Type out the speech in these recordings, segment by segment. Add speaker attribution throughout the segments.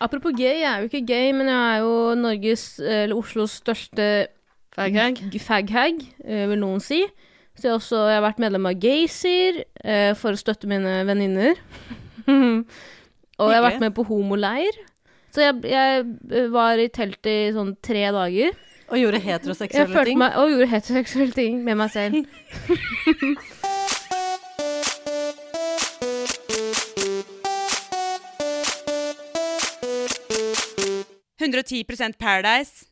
Speaker 1: Apropos gay, jeg er jo ikke gay, men jeg er jo Norges, eller Oslos største
Speaker 2: Faghag.
Speaker 1: g- faghag, eh, vil noen si. Så jeg, har også, jeg har vært medlem av Gaysir eh, for å støtte mine venninner. og jeg har
Speaker 3: Hyggelig.
Speaker 1: vært med på homoleir. Så jeg, jeg eh, var i telt i sånn tre dager.
Speaker 3: Og gjorde
Speaker 1: Jeg
Speaker 3: heteroseksuelle
Speaker 1: følte
Speaker 3: ting.
Speaker 1: meg, og gjorde heteroseksuelle ting med meg selv.
Speaker 4: P- 110 Paradise.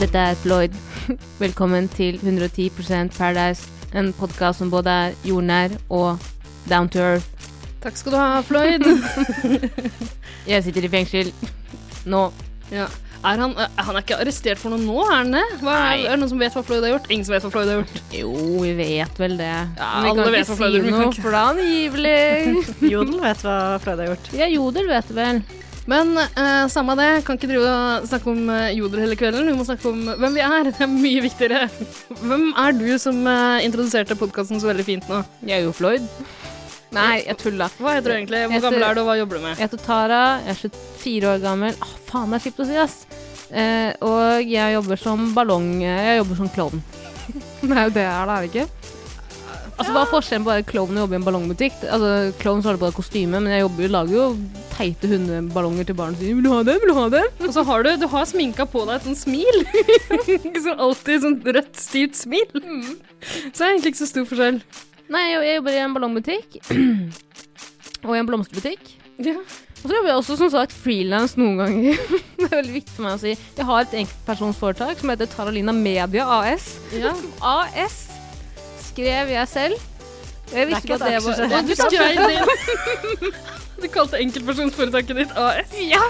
Speaker 1: Dette er Floyd. Velkommen til 110 Paradise, en podkast som både er jordnær og down to earth.
Speaker 2: Takk skal du ha, Floyd.
Speaker 1: Jeg sitter i fengsel nå.
Speaker 2: ja. Er han, eh, han er ikke arrestert for noe nå, er han det? Hva, er,
Speaker 1: Nei.
Speaker 2: er det noen som vet hva Floyd har gjort? Ingen som vet hva Floyd har gjort.
Speaker 1: Jo, vi vet vel det.
Speaker 2: Ja,
Speaker 1: Men vi
Speaker 2: alle
Speaker 1: kan
Speaker 2: vet
Speaker 1: ikke
Speaker 2: hva Floyd
Speaker 1: si
Speaker 2: gjør, men vi kan
Speaker 1: noe,
Speaker 2: ikke-
Speaker 1: for det er angivelig.
Speaker 3: Jodel vet hva Floyd har gjort.
Speaker 1: Ja, Jodel vet vel.
Speaker 2: Men eh, samme det, kan ikke drive og snakke om eh, jodel hele kvelden. Vi må snakke om hvem vi er. Det er mye viktigere. Hvem er du som eh, introduserte podkasten så veldig fint nå?
Speaker 1: Jeg er jo Floyd. Nei, jeg tulla.
Speaker 2: Hva heter du egentlig? Hvor
Speaker 1: Jeg heter-
Speaker 2: gammel er du, og hva jobber du med?
Speaker 1: Jeg heter Tara, jeg er 24 år gammel. Å, faen, det er kjipt å si, ass. Eh, og jeg jobber som ballong... eh, Jeg jobber som klovn. Det er jo det her, da, er det ikke? Altså, Hva er forskjellen på å være klovn og jobbe i en ballongbutikk? Altså, Klovn så har du på deg kostyme, men jeg jobber, jo- lager jo teite hundeballonger til barn og sier 'vil du ha den', 'vil du ha den'?
Speaker 2: Og så har du, du har sminka på deg et sånt smil. Ikke sånn alltid sånn rødt, stivt smil. Så det er egentlig ikke så stor forskjell.
Speaker 1: Nei, jeg, jeg jobber i en ballongbutikk. og i en blomsterbutikk.
Speaker 2: Ja.
Speaker 1: Og så jobber jeg også som sagt frilans noen ganger. det er veldig viktig for meg å si. Jeg har et enkeltpersonsforetak som heter Taralina Media AS. AS skrev jeg selv. Jeg
Speaker 3: Det er
Speaker 1: visste ikke
Speaker 3: ikke et
Speaker 1: at det var
Speaker 3: aksjeselskap.
Speaker 2: Og du skrev det Du kalte enkeltpersonforetaket ditt AS.
Speaker 1: Ja!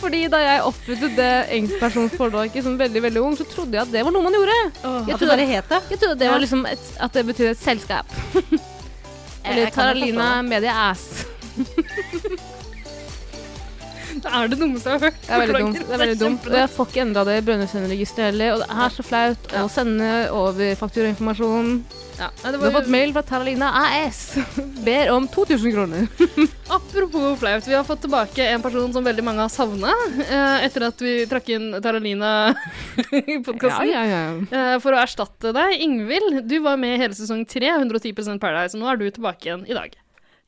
Speaker 1: Fordi da jeg opprettet det enkeltpersonsforetaket som veldig veldig ung, så trodde jeg at det var noe man gjorde. Jeg
Speaker 3: At det
Speaker 1: trodde-
Speaker 3: bare het det.
Speaker 1: Jeg trodde det
Speaker 3: Ja.
Speaker 1: var liksom et, at det betydde et selskap. Eller
Speaker 3: jeg kan jo
Speaker 1: Taralina
Speaker 3: forstå
Speaker 1: Media Ass.
Speaker 2: Det er det dummeste jeg har hørt.
Speaker 1: Det er veldig dumt.
Speaker 2: Beklager.
Speaker 1: Det er veldig dumt. Og jeg får ikke endra det i Brønnøysundregisteret heller. Og det er så flaut å sende over fakturainformasjon.
Speaker 2: Ja, nei, det
Speaker 1: Du har
Speaker 2: var
Speaker 1: fått mail fra Taralina AS. Ber om 2000 kroner.
Speaker 2: Apropos flaut, vi har fått tilbake en person som veldig mange har savna eh, etter at vi trakk inn Taralina i podkasten.
Speaker 1: Ja, ja, ja.
Speaker 2: Eh, For å erstatte deg, Ingvild, du var med hele sesong 3, 110 Paradise, og nå er du tilbake igjen i dag.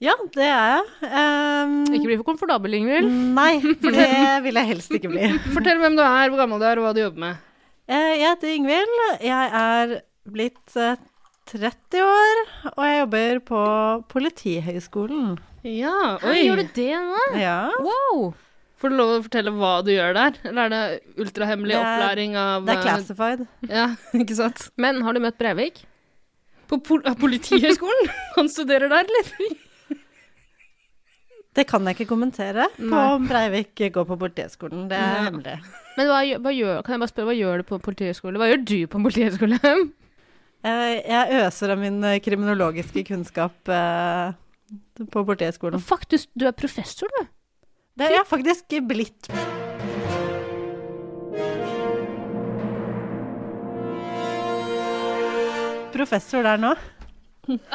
Speaker 3: Ja, det er jeg. Ehm,
Speaker 1: Ikke bli for komfortabel, Ingvild.
Speaker 3: Nei, for det vil jeg helst ikke bli.
Speaker 2: Fortell hvem du er, hvor gammel du er, og hva du jobber med.
Speaker 3: Eh, Jeg heter Ingvild. Jeg er blitt eh, 30 år, og jeg jobber på Politihøgskolen.
Speaker 2: Ja,
Speaker 1: Oi,
Speaker 2: oi.
Speaker 1: gjør du det nå?
Speaker 3: Ja.
Speaker 1: Wow!
Speaker 2: Får du lov å fortelle hva du gjør der? Eller er det ultrahemmelig
Speaker 3: Det er-
Speaker 2: opplæring av
Speaker 3: Det er
Speaker 2: eh,
Speaker 3: classified.
Speaker 2: Ja, ikke sant?
Speaker 1: Men har du møtt Brevik?
Speaker 2: På pol eh, Politihøgskolen? Han studerer der, eller?
Speaker 3: Det kan jeg ikke kommentere på
Speaker 1: Nei.
Speaker 3: om Breivik går på Politihøgskolen. Det er
Speaker 2: Ja.
Speaker 3: hemmelig.
Speaker 1: Men hva, gjør- hva gjør, kan jeg bare spørre, hva gjør du på en politihøgskole? Hva gjør du på en politihøgskole?
Speaker 3: Eh, Jeg øser av min eh, kriminologiske kunnskap eh, på Politihøgskolen.
Speaker 1: Fuck, du, du er professor, du.
Speaker 3: Det er jeg faktisk blitt. Professor der nå.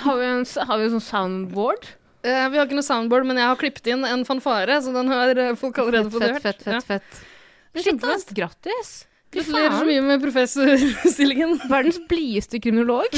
Speaker 1: Har vi en, s- har vi en sånn soundboard?
Speaker 2: Eh, vi har ikke noe soundboard, men jeg har klippet inn en fanfare, så den har eh, folk allerede fått hørt.
Speaker 1: fett, fett, fett, fett. Shit, ass. Grattis!
Speaker 2: Ja.
Speaker 1: Fy
Speaker 2: Gratulerer så
Speaker 1: faen.
Speaker 2: mye med professorstillingen.
Speaker 1: Verdens blideste kriminolog.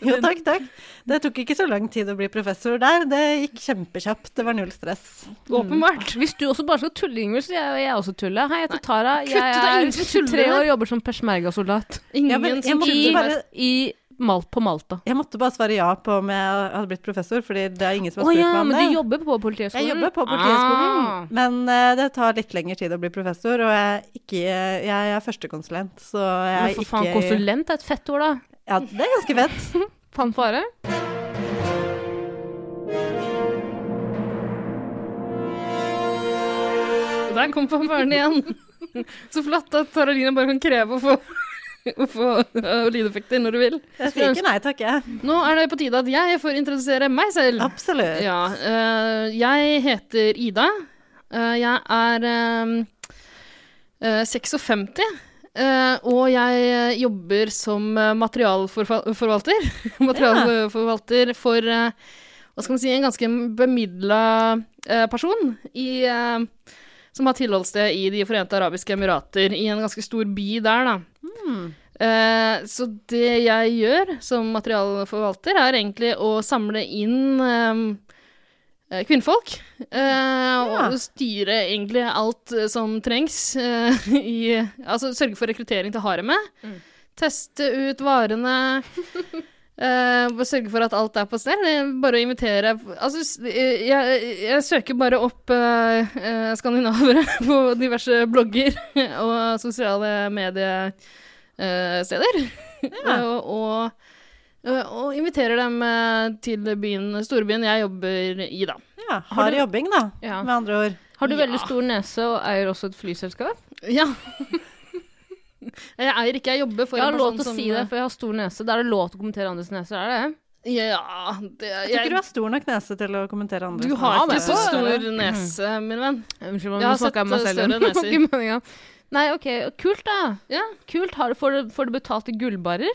Speaker 3: Jo, takk, takk. Det tok ikke så lang tid å bli professor der. Det gikk kjempekjapt. Det var null stress.
Speaker 2: Åpenbart.
Speaker 1: Hvis du også bare skal tulle, Ingvild, så jeg, jeg også tulle. Hei, jeg heter Tara.
Speaker 2: Kutt ut,
Speaker 1: Jeg
Speaker 2: det er
Speaker 1: er
Speaker 2: ingen som tuller
Speaker 1: 23 år
Speaker 2: her.
Speaker 1: og jobber som peshmerga-soldat
Speaker 2: Ingen
Speaker 3: Ja, men jeg
Speaker 2: som
Speaker 3: måtte
Speaker 1: i,
Speaker 2: tuller.
Speaker 3: bare-
Speaker 1: i Mal på Malta.
Speaker 3: Jeg måtte bare svare ja på om jeg hadde blitt professor, fordi det er ingen som
Speaker 1: Å
Speaker 3: har spurt
Speaker 1: ja,
Speaker 3: meg om
Speaker 1: men
Speaker 3: det.
Speaker 1: du jobber på politihøgskolen?
Speaker 3: jeg jobber på Politihøgskolen,
Speaker 1: Ah.
Speaker 3: men eh, det tar litt lengre tid å bli professor, og jeg er, ikke, jeg er førstekonsulent, så
Speaker 1: Men
Speaker 3: jeg er
Speaker 1: for
Speaker 3: ikke
Speaker 1: faen, konsulent er et fett ord, da.
Speaker 3: Ja, det er ganske fett.
Speaker 1: Fanfare.
Speaker 2: Der kom fanfaren igjen. Så flott at Taralina bare kan kreve å få å få eh, lydeffekter når du vil.
Speaker 3: Jeg sier ikke nei takk, jeg.
Speaker 2: Nå er det på tide at jeg får introdusere meg selv.
Speaker 3: Absolutt.
Speaker 2: Ja, eh, jeg heter Ida. Eh, jeg er eh, eh, 56. eh, og jeg eh, jobber som eh, materialforvalter. materialforvalter for eh, hva skal man si, en ganske bemidla eh, person i, eh, som har tilholdssted i De forente arabiske emirater, i en ganske stor by der, da. Eh, så det jeg gjør som materialforvalter, er egentlig å samle inn eh, eh, kvinnfolk. eh, Og styre egentlig alt eh, som trengs. eh, i, altså sørge for rekruttering til haremet. Teste ut varene. eh, og sørge for at alt er på stell. Eh, Bare å invitere Altså, s- eh, jeg, jeg søker bare opp eh, eh, skandinavere på diverse blogger og sosiale medier eh, steder. og, og, eh, og inviterer dem eh, til byen, storbyen jeg jobber i, da.
Speaker 3: Ja, Hard jobbing, da,
Speaker 1: Ja.
Speaker 3: med andre ord.
Speaker 1: Har du
Speaker 2: Ja.
Speaker 1: veldig stor nese og eier også et flyselskap?
Speaker 2: Ja. jeg eier ikke, jeg jobber for
Speaker 1: Jeg har
Speaker 2: en
Speaker 1: lov til
Speaker 2: person
Speaker 1: å
Speaker 2: som
Speaker 1: si det, for jeg har stor nese. Da er det lov til å kommentere andres neser, er det det?
Speaker 2: eh, Ja, det,
Speaker 3: Jeg tror ikke du har stor nok nese til å kommentere andre.
Speaker 2: du
Speaker 3: som
Speaker 2: har
Speaker 1: Ja,
Speaker 2: ikke
Speaker 1: men
Speaker 2: så
Speaker 1: så-
Speaker 2: stor nese, min venn.
Speaker 1: Unnskyld, men
Speaker 2: Jeg har
Speaker 1: nå snakker jeg meg
Speaker 2: sett,
Speaker 1: selv
Speaker 2: eh,
Speaker 1: igjen.
Speaker 2: større neser.
Speaker 1: Ikke meningen. Nei, OK. Kult, da.
Speaker 2: Ja.
Speaker 1: Kult. Har du, får, du, får du betalt i gullbarer?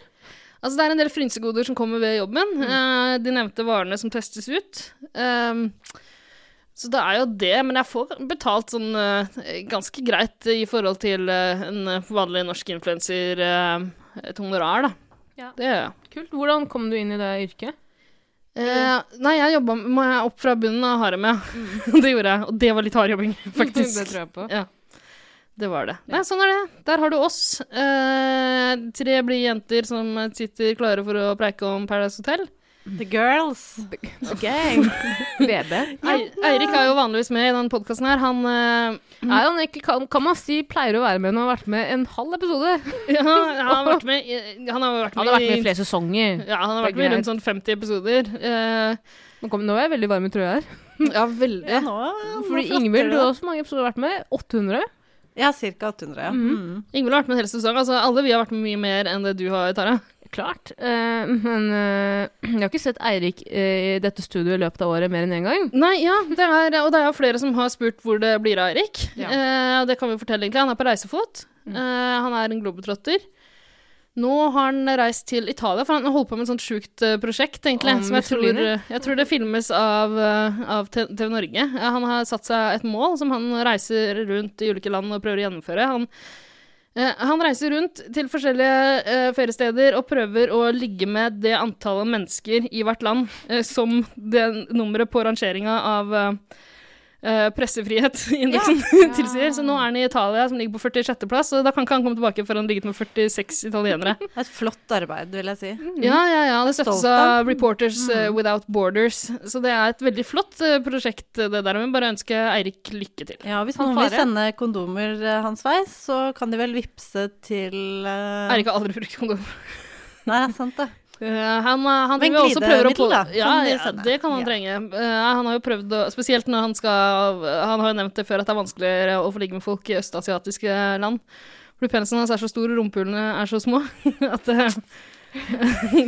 Speaker 2: Altså, det er en del frynsegoder som kommer ved jobben.
Speaker 1: Mm.
Speaker 2: Eh, de nevnte varene som testes ut. Ehm, så det er jo det, men jeg får betalt sånn eh, ganske greit i forhold til eh, en vanlig norsk influenser eh, et honorar, da.
Speaker 1: Ja.
Speaker 2: Det gjør jeg.
Speaker 1: Kult. Hvordan kom du inn i det yrket?
Speaker 2: Eh, nei, jeg jobba må jeg opp fra bunnen av haremet. det gjorde jeg, og det var litt hard jobbing,
Speaker 1: Mm. det
Speaker 2: faktisk.
Speaker 1: tror jeg på.
Speaker 2: Det var det. Nei, sånn er det. Der har du oss. Eh, tre blide jenter som sitter klare for å preike om Paradise Hotel.
Speaker 3: altså. The girls. The gang.
Speaker 1: BB.
Speaker 2: Ei- Eirik er jo vanligvis med i den podkasten her. Han eh,
Speaker 1: Er han egentlig, kan, kan man si pleier å være med når han har vært med en halv episode?
Speaker 2: ja, han har vært med i- Han har vært
Speaker 1: Han
Speaker 2: med,
Speaker 1: har vært med
Speaker 2: i-
Speaker 1: i flere sesonger.
Speaker 2: Ja, han har
Speaker 1: Det
Speaker 2: vært
Speaker 1: er
Speaker 2: med i
Speaker 1: greit.
Speaker 2: rundt sånn 50 episoder. Eh,
Speaker 1: Nå, kom, nå er jeg veldig varm i trøya her.
Speaker 2: ja, veldig.
Speaker 3: Ja, nå, nå
Speaker 1: Fordi
Speaker 3: flatter
Speaker 1: Ingvild,
Speaker 3: det.
Speaker 1: du har også mange episoder vært med. 800.
Speaker 3: Ja, ca. 800. Ja. Mm.
Speaker 2: Ingvild har vært med en hel sesong. Altså, alle vi har vært med mye mer enn det du har, Tara.
Speaker 1: Klart. Eh, men eh, jeg har ikke sett Eirik eh, i dette studioet i løpet av året mer enn én gang.
Speaker 2: Nei, ja, det er, og det er jo flere som har spurt hvor det blir av Eirik.
Speaker 1: Ja.
Speaker 2: Eh, og det kan vi fortelle, egentlig. Han er på reisefot. Eh, han er en globetrotter. Nå har han reist til Italia, for han holder på med et sånt sjukt eh, prosjekt, egentlig.
Speaker 1: Om
Speaker 2: som jeg tror, eh,
Speaker 1: Mussolini?
Speaker 2: jeg tror det filmes av, eh, av T- TV Norge. Eh, han har satt seg et mål som han reiser rundt i ulike land og prøver å gjennomføre. Han, eh, han reiser rundt til forskjellige eh, feriesteder og prøver å ligge med det antallet mennesker i hvert land eh, som det nummeret på rangeringa av eh, eh, pressefrihet-indeksen tilsier. Så nå er han i Italia, som ligger på 46. plass, og da kan ikke han komme tilbake før han ligget med 46 italienere.
Speaker 3: Et flott arbeid, vil jeg si.
Speaker 2: Ja, ja, ja. Det
Speaker 3: Mm. Stolt
Speaker 2: støttes
Speaker 3: av. Mm.
Speaker 2: av Reporters eh, Without Borders. Så det er et veldig flott eh, prosjekt, eh, det der. Men bare ønske Eirik lykke til.
Speaker 3: Ja, Hvis
Speaker 1: Han
Speaker 3: noen vil
Speaker 1: fare.
Speaker 3: sende kondomer eh, hans vei, så kan de vel vippse til eh,
Speaker 2: Eirik har aldri brukt kondom.
Speaker 3: Nei, det er sant, det.
Speaker 2: Eh, han, eh, han
Speaker 3: Men
Speaker 2: driver også prøver å på...
Speaker 3: glidemiddel, da, kan
Speaker 2: Ja,
Speaker 3: de
Speaker 2: ja,
Speaker 3: sende.
Speaker 2: det kan han
Speaker 3: Ja.
Speaker 2: trenge. Eh, han har jo prøvd å Spesielt når han skal Han har jo nevnt det før at det er vanskeligere å få ligge med folk i østasiatiske land. Fordi penisen hans er så stor, og rumpehulene er så små at det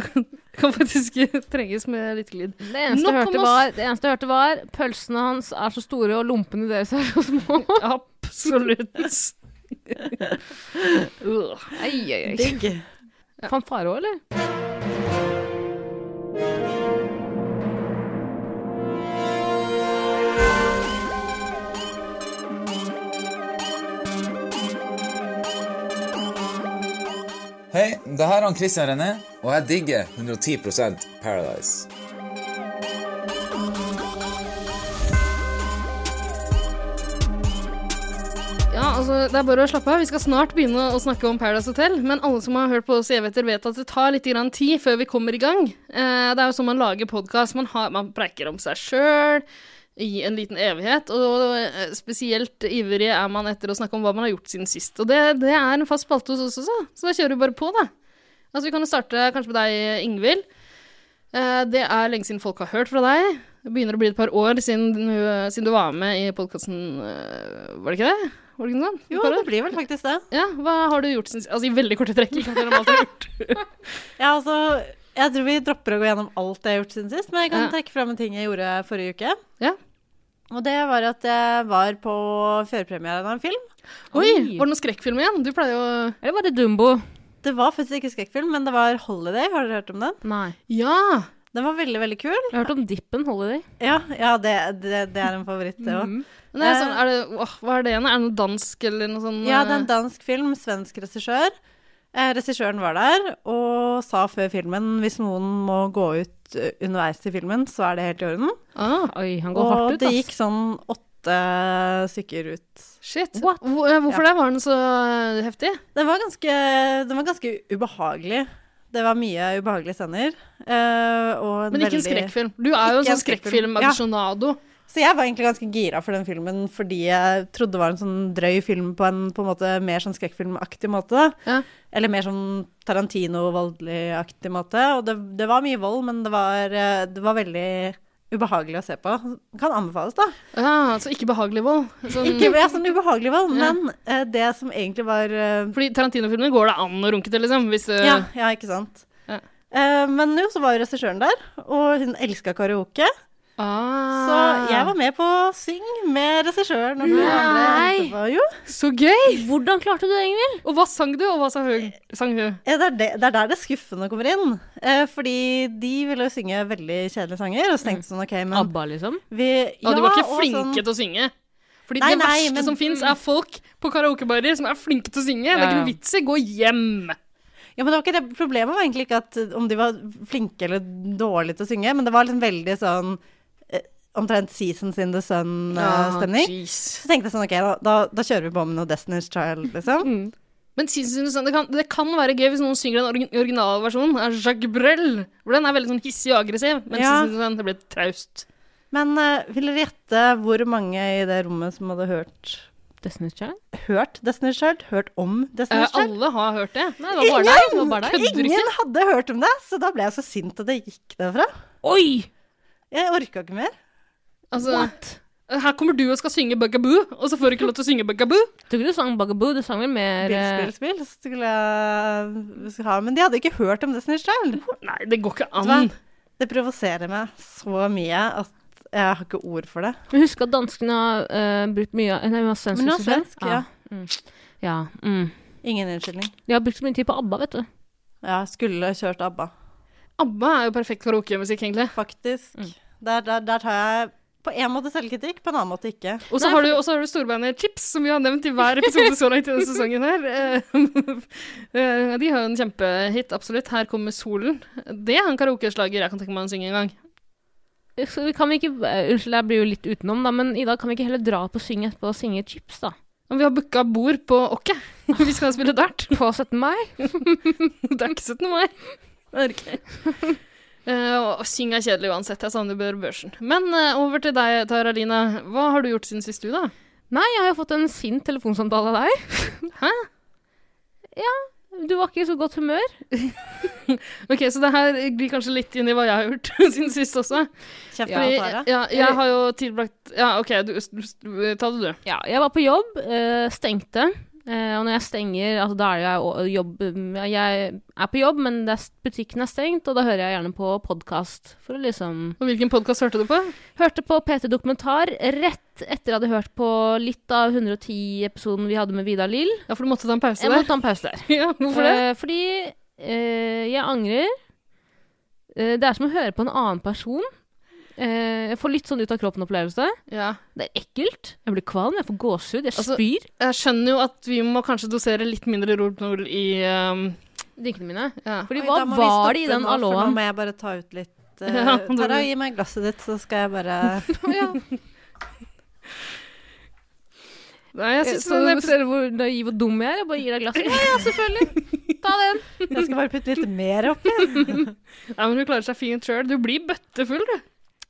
Speaker 2: kan faktisk trenges med litt glid.
Speaker 1: Det eneste,
Speaker 2: Nok
Speaker 1: jeg
Speaker 2: om
Speaker 1: hørte
Speaker 2: oss.
Speaker 1: var, det eneste jeg hørte, var pølsene hans er så store, og lompene deres er så små.
Speaker 2: Absolutt. Øh.
Speaker 1: Ei, ei, ei.
Speaker 3: Digg.
Speaker 1: Fanfare òg, eller?
Speaker 5: Hei, det her er han Christian René, og jeg digger 110 Paradise.
Speaker 2: Ja, altså, det er bare å slappe av. Vi skal snart begynne å snakke om Paradise Hotel. Men alle som har hørt på oss i evigheter, vet at det tar litt grann tid før vi kommer i gang. Eh, det er jo sånn man lager podkast. Man, har- man preiker om seg sjøl i en liten evighet. Og eh, spesielt ivrig er man etter å snakke om hva man har gjort siden sist. Og det, det er en fast spalte hos oss også, så da kjører vi bare på, da. Altså, vi kan jo starte kanskje med deg, Ingvild. Eh, det er lenge siden folk har hørt fra deg. Det begynner å bli et par år siden, du- siden du var med i podkasten, var det ikke det? Var det ikke noe sånt? Et
Speaker 3: Jo,
Speaker 2: par
Speaker 3: det
Speaker 2: år?
Speaker 3: blir vel faktisk det.
Speaker 2: Ja, hva har du gjort siden Altså i veldig korte trekk. Ikke sant, det er normalt å ha gjort.
Speaker 3: Ja, altså, jeg tror vi dropper å gå gjennom alt jeg har gjort siden sist, men jeg kan
Speaker 2: Ja.
Speaker 3: trekke fram en ting jeg gjorde forrige uke.
Speaker 2: Ja.
Speaker 3: Og det var at jeg var på førpremieren av en film.
Speaker 2: Oi!
Speaker 1: Oi.
Speaker 2: Var det noen skrekkfilm igjen? Du pleier jo
Speaker 1: Eller var det Dumbo?
Speaker 3: Det var faktisk ikke skrekkfilm, men det var Holiday. Har dere hørt om den?
Speaker 1: Nei.
Speaker 2: Ja!
Speaker 3: Den var veldig, veldig kul.
Speaker 1: Jeg har hørt om Dippen Holiday.
Speaker 3: Ja, ja det, det, det er en favoritt, det òg.
Speaker 2: Men det er sånn, er det, åh, hva er det igjen? Er det noe dansk eller noe sånn
Speaker 3: Eh. Ja, det er en
Speaker 2: eh,
Speaker 3: dansk film. Svensk regissør. Eh, regissøren var der og sa før filmen hvis noen må gå ut eh, underveis til filmen, så er det helt i orden.
Speaker 2: ah,
Speaker 1: Oi, han går
Speaker 3: Og
Speaker 1: hardt ut,
Speaker 3: det
Speaker 1: ass.
Speaker 3: gikk sånn åtte stykker ut.
Speaker 2: Shit.
Speaker 1: What?
Speaker 2: Hvor, eh, hvorfor det? Var den så eh, heftig?
Speaker 3: Den var ganske, den var ganske ubehagelig. Det var mye ubehagelige scener. eh, og en
Speaker 2: Men ikke en
Speaker 3: veldig-
Speaker 2: skrekkfilm. Du er jo en
Speaker 3: Ikke en
Speaker 2: sånn
Speaker 3: skrekkfilm. Ja.
Speaker 2: skrekkfilm-aficionado.
Speaker 3: Så jeg var egentlig ganske gira for den filmen fordi jeg trodde det var en sånn drøy film på en, på en måte mer sånn skrekkfilmaktig måte.
Speaker 2: Ja.
Speaker 3: Eller mer sånn Tarantino-voldelig-aktig måte. Og det, det var mye vold, men det var, eh, det var veldig ubehagelig å se på. Kan anbefales, da.
Speaker 2: Ja. så ikke behagelig vold. Sånn,
Speaker 3: Ikke ja, sånn ubehagelig vold,
Speaker 2: Ja.
Speaker 3: men eh, det som egentlig var eh,
Speaker 2: Fordi Tarantino-filmer går det an å runke til, liksom. Hvis, eh,
Speaker 3: ja, ja, ikke sant.
Speaker 2: Ja.
Speaker 3: Eh, men jo, så var jo regissøren der, og hun elska karaoke.
Speaker 2: Ah.
Speaker 3: Så jeg var med på Syng med regissøren og noen andre.
Speaker 1: Nei.
Speaker 3: etterpå. Jo,
Speaker 2: Så gøy!
Speaker 1: Hvordan klarte du det, Ingvild?
Speaker 2: Og hva sang du, og hva sa hun? Sang hun?
Speaker 3: Ja, Det er, det, det er der det skuffende kommer inn. Eh, fordi de ville jo synge veldig kjedelige sanger. Og så tenkte jeg sånn, ok, men
Speaker 1: ABBA, liksom?
Speaker 3: vi,
Speaker 2: Ja, Mm. de var
Speaker 3: og
Speaker 2: ikke flinke
Speaker 3: sånn-
Speaker 2: til å synge. Fordi
Speaker 3: Nei,
Speaker 2: det
Speaker 3: nei,
Speaker 2: verste
Speaker 3: men-
Speaker 2: som fins, er folk på karaokebarer som er flinke til å synge. Det er
Speaker 1: Ja,
Speaker 2: ikke
Speaker 1: ja.
Speaker 2: noe vits i. Gå hjem!
Speaker 3: ja, men det var ikke det. Problemet var egentlig ikke at eh, om de var flinke eller dårlige til å synge, men det var liksom veldig sånn eh, omtrent Seasons in the Sun-stemning.
Speaker 2: jeez.
Speaker 3: så tenkte jeg sånn, ok, da, da, da kjører vi på med noe Destiny's Child,
Speaker 2: Mm.
Speaker 3: liksom.
Speaker 2: Men synes du sånn, det, kan, det kan være gøy hvis noen synger den orgi- originale versjonen av Jacques Brel. For den er veldig sånn hissig og aggressiv. Men
Speaker 3: Ja.
Speaker 2: synes du sånn, det blir traust.
Speaker 3: Men eh, vil dere gjette hvor mange i det rommet som hadde hørt,
Speaker 1: Destiny's Child?
Speaker 3: hørt Destiny's Child? Hørt om
Speaker 2: Eh,
Speaker 3: Destiny's Child?
Speaker 2: alle har hørt det.
Speaker 1: Nei, det var bare deg. Det var bare deg.
Speaker 2: Kødder du
Speaker 3: Ingen hadde hørt om det, så da ble jeg så sint at jeg gikk derfra.
Speaker 1: Oi!
Speaker 3: Jeg orka ikke mer.
Speaker 2: Altså,
Speaker 1: What?
Speaker 2: her kommer du og skal synge Bugaboo, og så får du ikke lov til å synge Bugaboo.
Speaker 1: Jeg tror ikke du sang Bugaboo, du sang vel mer
Speaker 3: Spill,
Speaker 1: eh,
Speaker 3: spill, spill skulle jeg skulle ha. Men de hadde ikke hørt om Destiny's Child.
Speaker 2: Nei, det går ikke
Speaker 3: Hva?
Speaker 2: an.
Speaker 3: Det provoserer meg så mye at jeg har ikke ord for det.
Speaker 1: Men husk at danskene har eh, brukt mye av Nei, hun har svensk
Speaker 3: Men hun har
Speaker 1: regissør.
Speaker 3: svensk, ja.
Speaker 1: Mm. ja mm.
Speaker 3: Ingen unnskyldning.
Speaker 1: De har brukt så mye tid på ABBA, vet du.
Speaker 3: Ja, skulle kjørt ABBA.
Speaker 2: ABBA er jo perfekt karaokemusikk, egentlig.
Speaker 3: Faktisk.
Speaker 1: Mm.
Speaker 3: Der, der, der tar jeg på en måte selvkritikk, på en annen måte ikke.
Speaker 2: Og så
Speaker 1: Nei,
Speaker 2: har, du- og så har du storbandet Chips, som vi har nevnt i hver episode så langt i denne sesongen her. Eh, eh, De har jo en kjempehit, absolutt. Her kommer solen. Det er en karaokeslager jeg kan tenke meg å synge en gang.
Speaker 1: Så vi kan vi ikke eh, Unnskyld, jeg blir jo litt utenom, da, men i dag kan vi ikke heller dra på Syng etterpå og synge Chips, da?
Speaker 2: Men vi har booka bord på Åkke. Vi skal spille dart.
Speaker 1: På 17. mai?
Speaker 2: Det er ikke 17. mai. Det er ikke. Eh, og syng er kjedelig uansett. Jeg savner Bør Børsen. Men eh, over til deg, Taralina. Hva har du gjort siden sist, du, da?
Speaker 1: Nei, jeg har jo fått en sint telefonsamtale av deg.
Speaker 2: Hæ?
Speaker 1: Ja, du var ikke i så godt humør.
Speaker 2: Ok, Så det her glir kanskje litt inn i hva jeg har gjort siden sist også.
Speaker 3: Kjeft på
Speaker 2: Fordi,
Speaker 3: Tara.
Speaker 2: ja, jeg har jo tilbrakt Ja, OK, du, du, du, ta det, du.
Speaker 1: Ja, jeg var på jobb, eh, stengte. Eh, og når jeg stenger, altså da er det jo jeg å- jobb ja, Jeg er på jobb, men det er, butikken er stengt, og da hører jeg gjerne på podkast for å liksom
Speaker 2: Og hvilken podkast hørte du på?
Speaker 1: Hørte på PT Dokumentar rett etter jeg hadde hørt på litt av 110-episoden vi hadde med Vidar Lill.
Speaker 2: Ja, for du måtte ta en pause
Speaker 1: Jeg
Speaker 2: der.
Speaker 1: måtte ta en pause der.
Speaker 2: Ja, hvorfor det?
Speaker 1: Eh, fordi eh, jeg angrer. Eh, det er som å høre på en annen person. Eh, jeg får litt sånn ut av kroppen-opplevelse.
Speaker 2: Ja.
Speaker 1: Det er ekkelt. Jeg blir kvalm, jeg får gåsehud, jeg
Speaker 2: Altså-
Speaker 1: spyr.
Speaker 2: Jeg skjønner jo at vi må kanskje dosere litt mindre Rohypnol i ehm,
Speaker 1: Drinkene mine.
Speaker 2: ja.
Speaker 1: Fordi
Speaker 3: Oi,
Speaker 1: hva
Speaker 3: da må vi
Speaker 1: var det i
Speaker 3: stoppe
Speaker 1: den
Speaker 3: nå, for Nå
Speaker 1: aloen?
Speaker 3: må jeg bare ta ut litt. eh,
Speaker 2: Ja, det
Speaker 3: Tara,
Speaker 2: blir-
Speaker 3: gi meg glasset ditt, så skal jeg bare
Speaker 2: Nei, jeg
Speaker 1: Eh,
Speaker 2: synes
Speaker 1: Så
Speaker 2: den
Speaker 1: du
Speaker 2: episoden-
Speaker 1: ser hvor naiv og dum jeg er. Jeg bare gir deg glasset. Ja, ja, selvfølgelig. Ta den.
Speaker 3: Jeg skal bare putte litt mer oppi.
Speaker 2: Nei, men Hun klarer seg fint sjøl. Du blir bøttefull, du.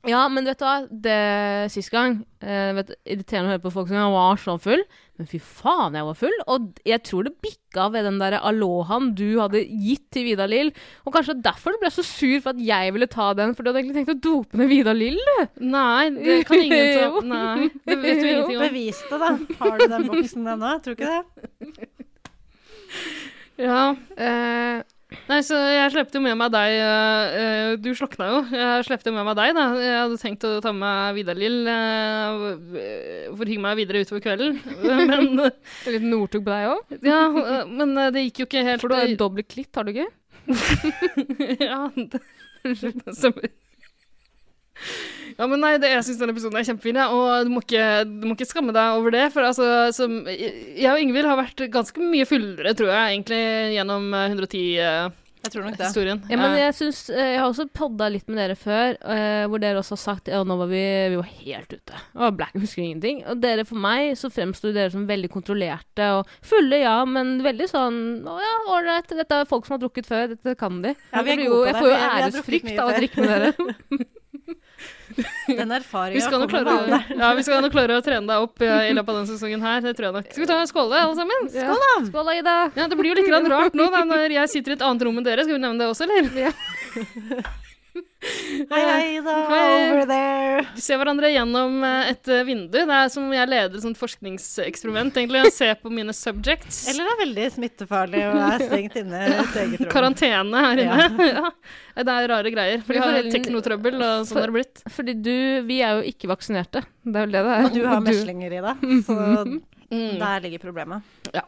Speaker 1: Ja, men vet du hva? Det sist gang eh, vet, du, Irriterende å høre på folk som «Jeg var så full. Men fy faen, jeg var full. Og jeg tror det bikka ved den der alohaen du hadde gitt til Vidar Lill. Og kanskje derfor du ble så sur for at jeg ville ta den, for du hadde egentlig tenkt å dope ned Vidar Lill. du.
Speaker 2: Nei, det kan ingen
Speaker 1: Jo.
Speaker 2: ta Nei, det vet du ingenting om.
Speaker 3: Bevis det, da. Har du den boksen ennå? Tror ikke det.
Speaker 2: Ja.
Speaker 1: Eh,
Speaker 2: Nei, så jeg slepte jo med meg deg eh, eh, Du slokna jo. Jeg slepte jo med meg deg, da. Jeg hadde tenkt å ta med meg Vidar-Lill eh, for å hygge meg videre utover kvelden. Men,
Speaker 1: en liten Northug på deg òg.
Speaker 2: ja, eh, men eh, det gikk jo ikke helt
Speaker 1: For du har dobbel klitt, har du ikke?
Speaker 2: Ja, det- unnskyld, det stemmer. Ja, men nei, det, jeg syns denne episoden er kjempefin, ja, og du må, ikke, du må ikke skamme deg over det. For altså, som, jeg og Ingvild har vært ganske mye fullere, tror jeg, egentlig, gjennom eh, 110-historien.
Speaker 3: Jeg tror nok
Speaker 1: Ja,
Speaker 3: det.
Speaker 1: men jeg, synes, eh, jeg har også podda litt med dere før, eh, hvor dere også har sagt ja, nå var vi, vi var helt ute. Og Black husker ingenting. Og dere, for meg så fremsto dere som veldig kontrollerte og fulle, ja, men veldig sånn Å ja, ålreit, dette er folk som har drukket før, dette kan de.
Speaker 3: Ja, vi er
Speaker 1: Jeg blir jo,
Speaker 3: gode på
Speaker 1: jeg
Speaker 3: det.
Speaker 1: får jo
Speaker 3: Vi- vi har drukket mye
Speaker 1: æresfrykt av å
Speaker 3: før.
Speaker 1: drikke med dere.
Speaker 3: Den
Speaker 2: Vi
Speaker 3: erfaringa
Speaker 2: skal, nok klare, ja, vi skal nok klare å trene deg opp eh, i løpet av denne sesongen her. Det tror jeg nok. Skal vi ta en skåle, alle sammen?
Speaker 1: Skål, da! Skål, da, Ida.
Speaker 2: Ja, Det blir jo litt grann rart nå da, når jeg sitter i et annet rom enn dere. Skal vi nevne det også, eller?
Speaker 3: Hei, hei, da.
Speaker 2: Hei.
Speaker 3: Over there.
Speaker 2: Vi ser hverandre gjennom eh, et eh, vindu. Det er som om jeg leder et sånt forskningseksperiment. egentlig. Jeg ser på mine subjects.
Speaker 3: Eller er veldig smittefarlig og er stengt inne i et eget rom.
Speaker 2: Karantene her inne. Ja. Det er rare greier. For de har
Speaker 1: Foreldrene-
Speaker 2: teknotrøbbel, og sånn har det blitt.
Speaker 1: Fordi du Vi er jo ikke vaksinerte. Det er vel det det er.
Speaker 3: Og du har meslinger i deg, så der ligger problemet.
Speaker 2: Mm. Ja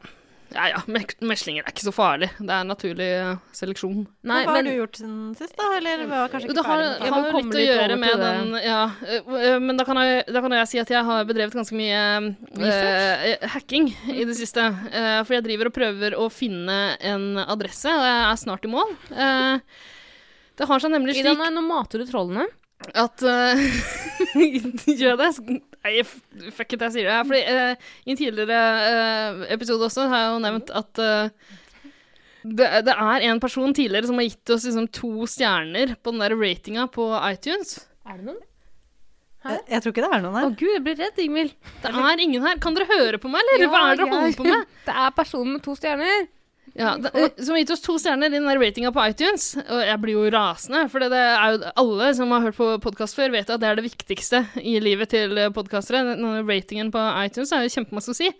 Speaker 2: ja, mek- meslinger er ikke så farlig. Det er naturlig eh, seleksjon.
Speaker 1: Nei,
Speaker 3: Hva har
Speaker 1: men
Speaker 3: du gjort siden sist, da? Eller var kanskje
Speaker 2: Det
Speaker 3: ikke
Speaker 2: har,
Speaker 3: ferdig?
Speaker 2: jeg
Speaker 1: må
Speaker 2: har jo
Speaker 1: komme
Speaker 2: litt å
Speaker 1: litt
Speaker 2: gjøre
Speaker 1: over
Speaker 2: med
Speaker 1: til det.
Speaker 2: den ja, øh, øh, Men da kan, jeg, da kan jeg si at jeg har bedrevet ganske mye øh, hacking i det siste. Øh, for jeg driver og prøver å finne en adresse, og jeg er snart i mål. Eh, det har seg nemlig
Speaker 1: Ida,
Speaker 2: slik
Speaker 1: nei, nå mater du trollene.
Speaker 2: at øh, Gjør jeg det? Nei, f- fuck it, jeg sier det. Fordi, øh, I en tidligere øh, episode også har jeg jo nevnt at øh, det, det er en person tidligere som har gitt oss liksom, to stjerner på den der ratinga på iTunes.
Speaker 1: Er det noen?
Speaker 3: Jeg, jeg tror ikke det er noen
Speaker 1: Å
Speaker 3: her.
Speaker 1: gud, jeg blir redd, Ingvild.
Speaker 2: Det er ingen her. Kan dere høre på meg, eller? Hva er det dere holder på med?
Speaker 1: Det er personen med to stjerner.
Speaker 2: Ja,
Speaker 1: Mm.
Speaker 2: det, som har gitt oss to stjerner i den der ratinga på iTunes. Og jeg blir jo rasende, for det det er jo alle som har hørt på podkast før, vet at det er det viktigste i livet til podkastere. Denne ratingen på iTunes er jo kjempemasse å si.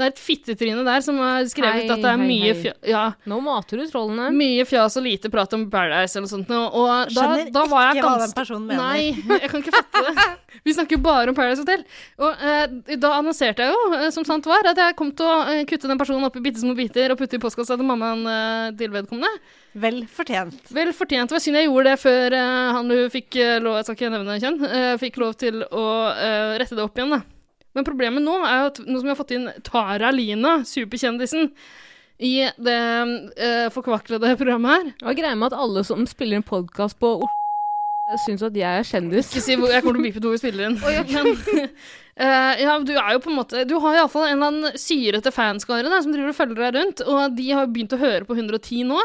Speaker 2: Det er et fittetryne der som har skrevet
Speaker 1: Hei,
Speaker 2: at det er
Speaker 1: hei,
Speaker 2: mye,
Speaker 1: hei.
Speaker 2: fja, ja,
Speaker 1: Nå mater du trollene.
Speaker 2: mye fjas og lite prat om Paradise eller noe sånt. nå, Og da,
Speaker 3: Skjønner
Speaker 2: da var jeg
Speaker 3: ikke hva den
Speaker 2: ganske
Speaker 3: personen mener.
Speaker 2: Nei, jeg kan ikke fatte det. Vi snakker bare om Paradise Hotel. Og eh, da annonserte jeg jo, eh, som sant var, at jeg kom til å eh, kutte den personen opp i bitte små biter og putte i postkassa til mammaen eh, til vedkommende.
Speaker 3: Vel fortjent.
Speaker 2: Vel fortjent. Det var synd jeg gjorde det før eh, han du fikk eh, lov Jeg skal ikke nevne kjønn. eh, fikk lov til å eh, rette det opp igjen, da. Men problemet nå er jo at nå som vi har fått inn Tara Lina, superkjendisen, i det eh, forkvaklede programmet her
Speaker 1: Og greia med at alle som spiller en podkast på Oslo syns at jeg er kjendis.
Speaker 2: Ikke si hvor jeg kommer til å bipe to i spilleren. Men eh, ja, du er jo på en måte Du har iallfall en eller annen syrete fanskare da, som driver og følger deg rundt, og de har begynt å høre på 110 nå.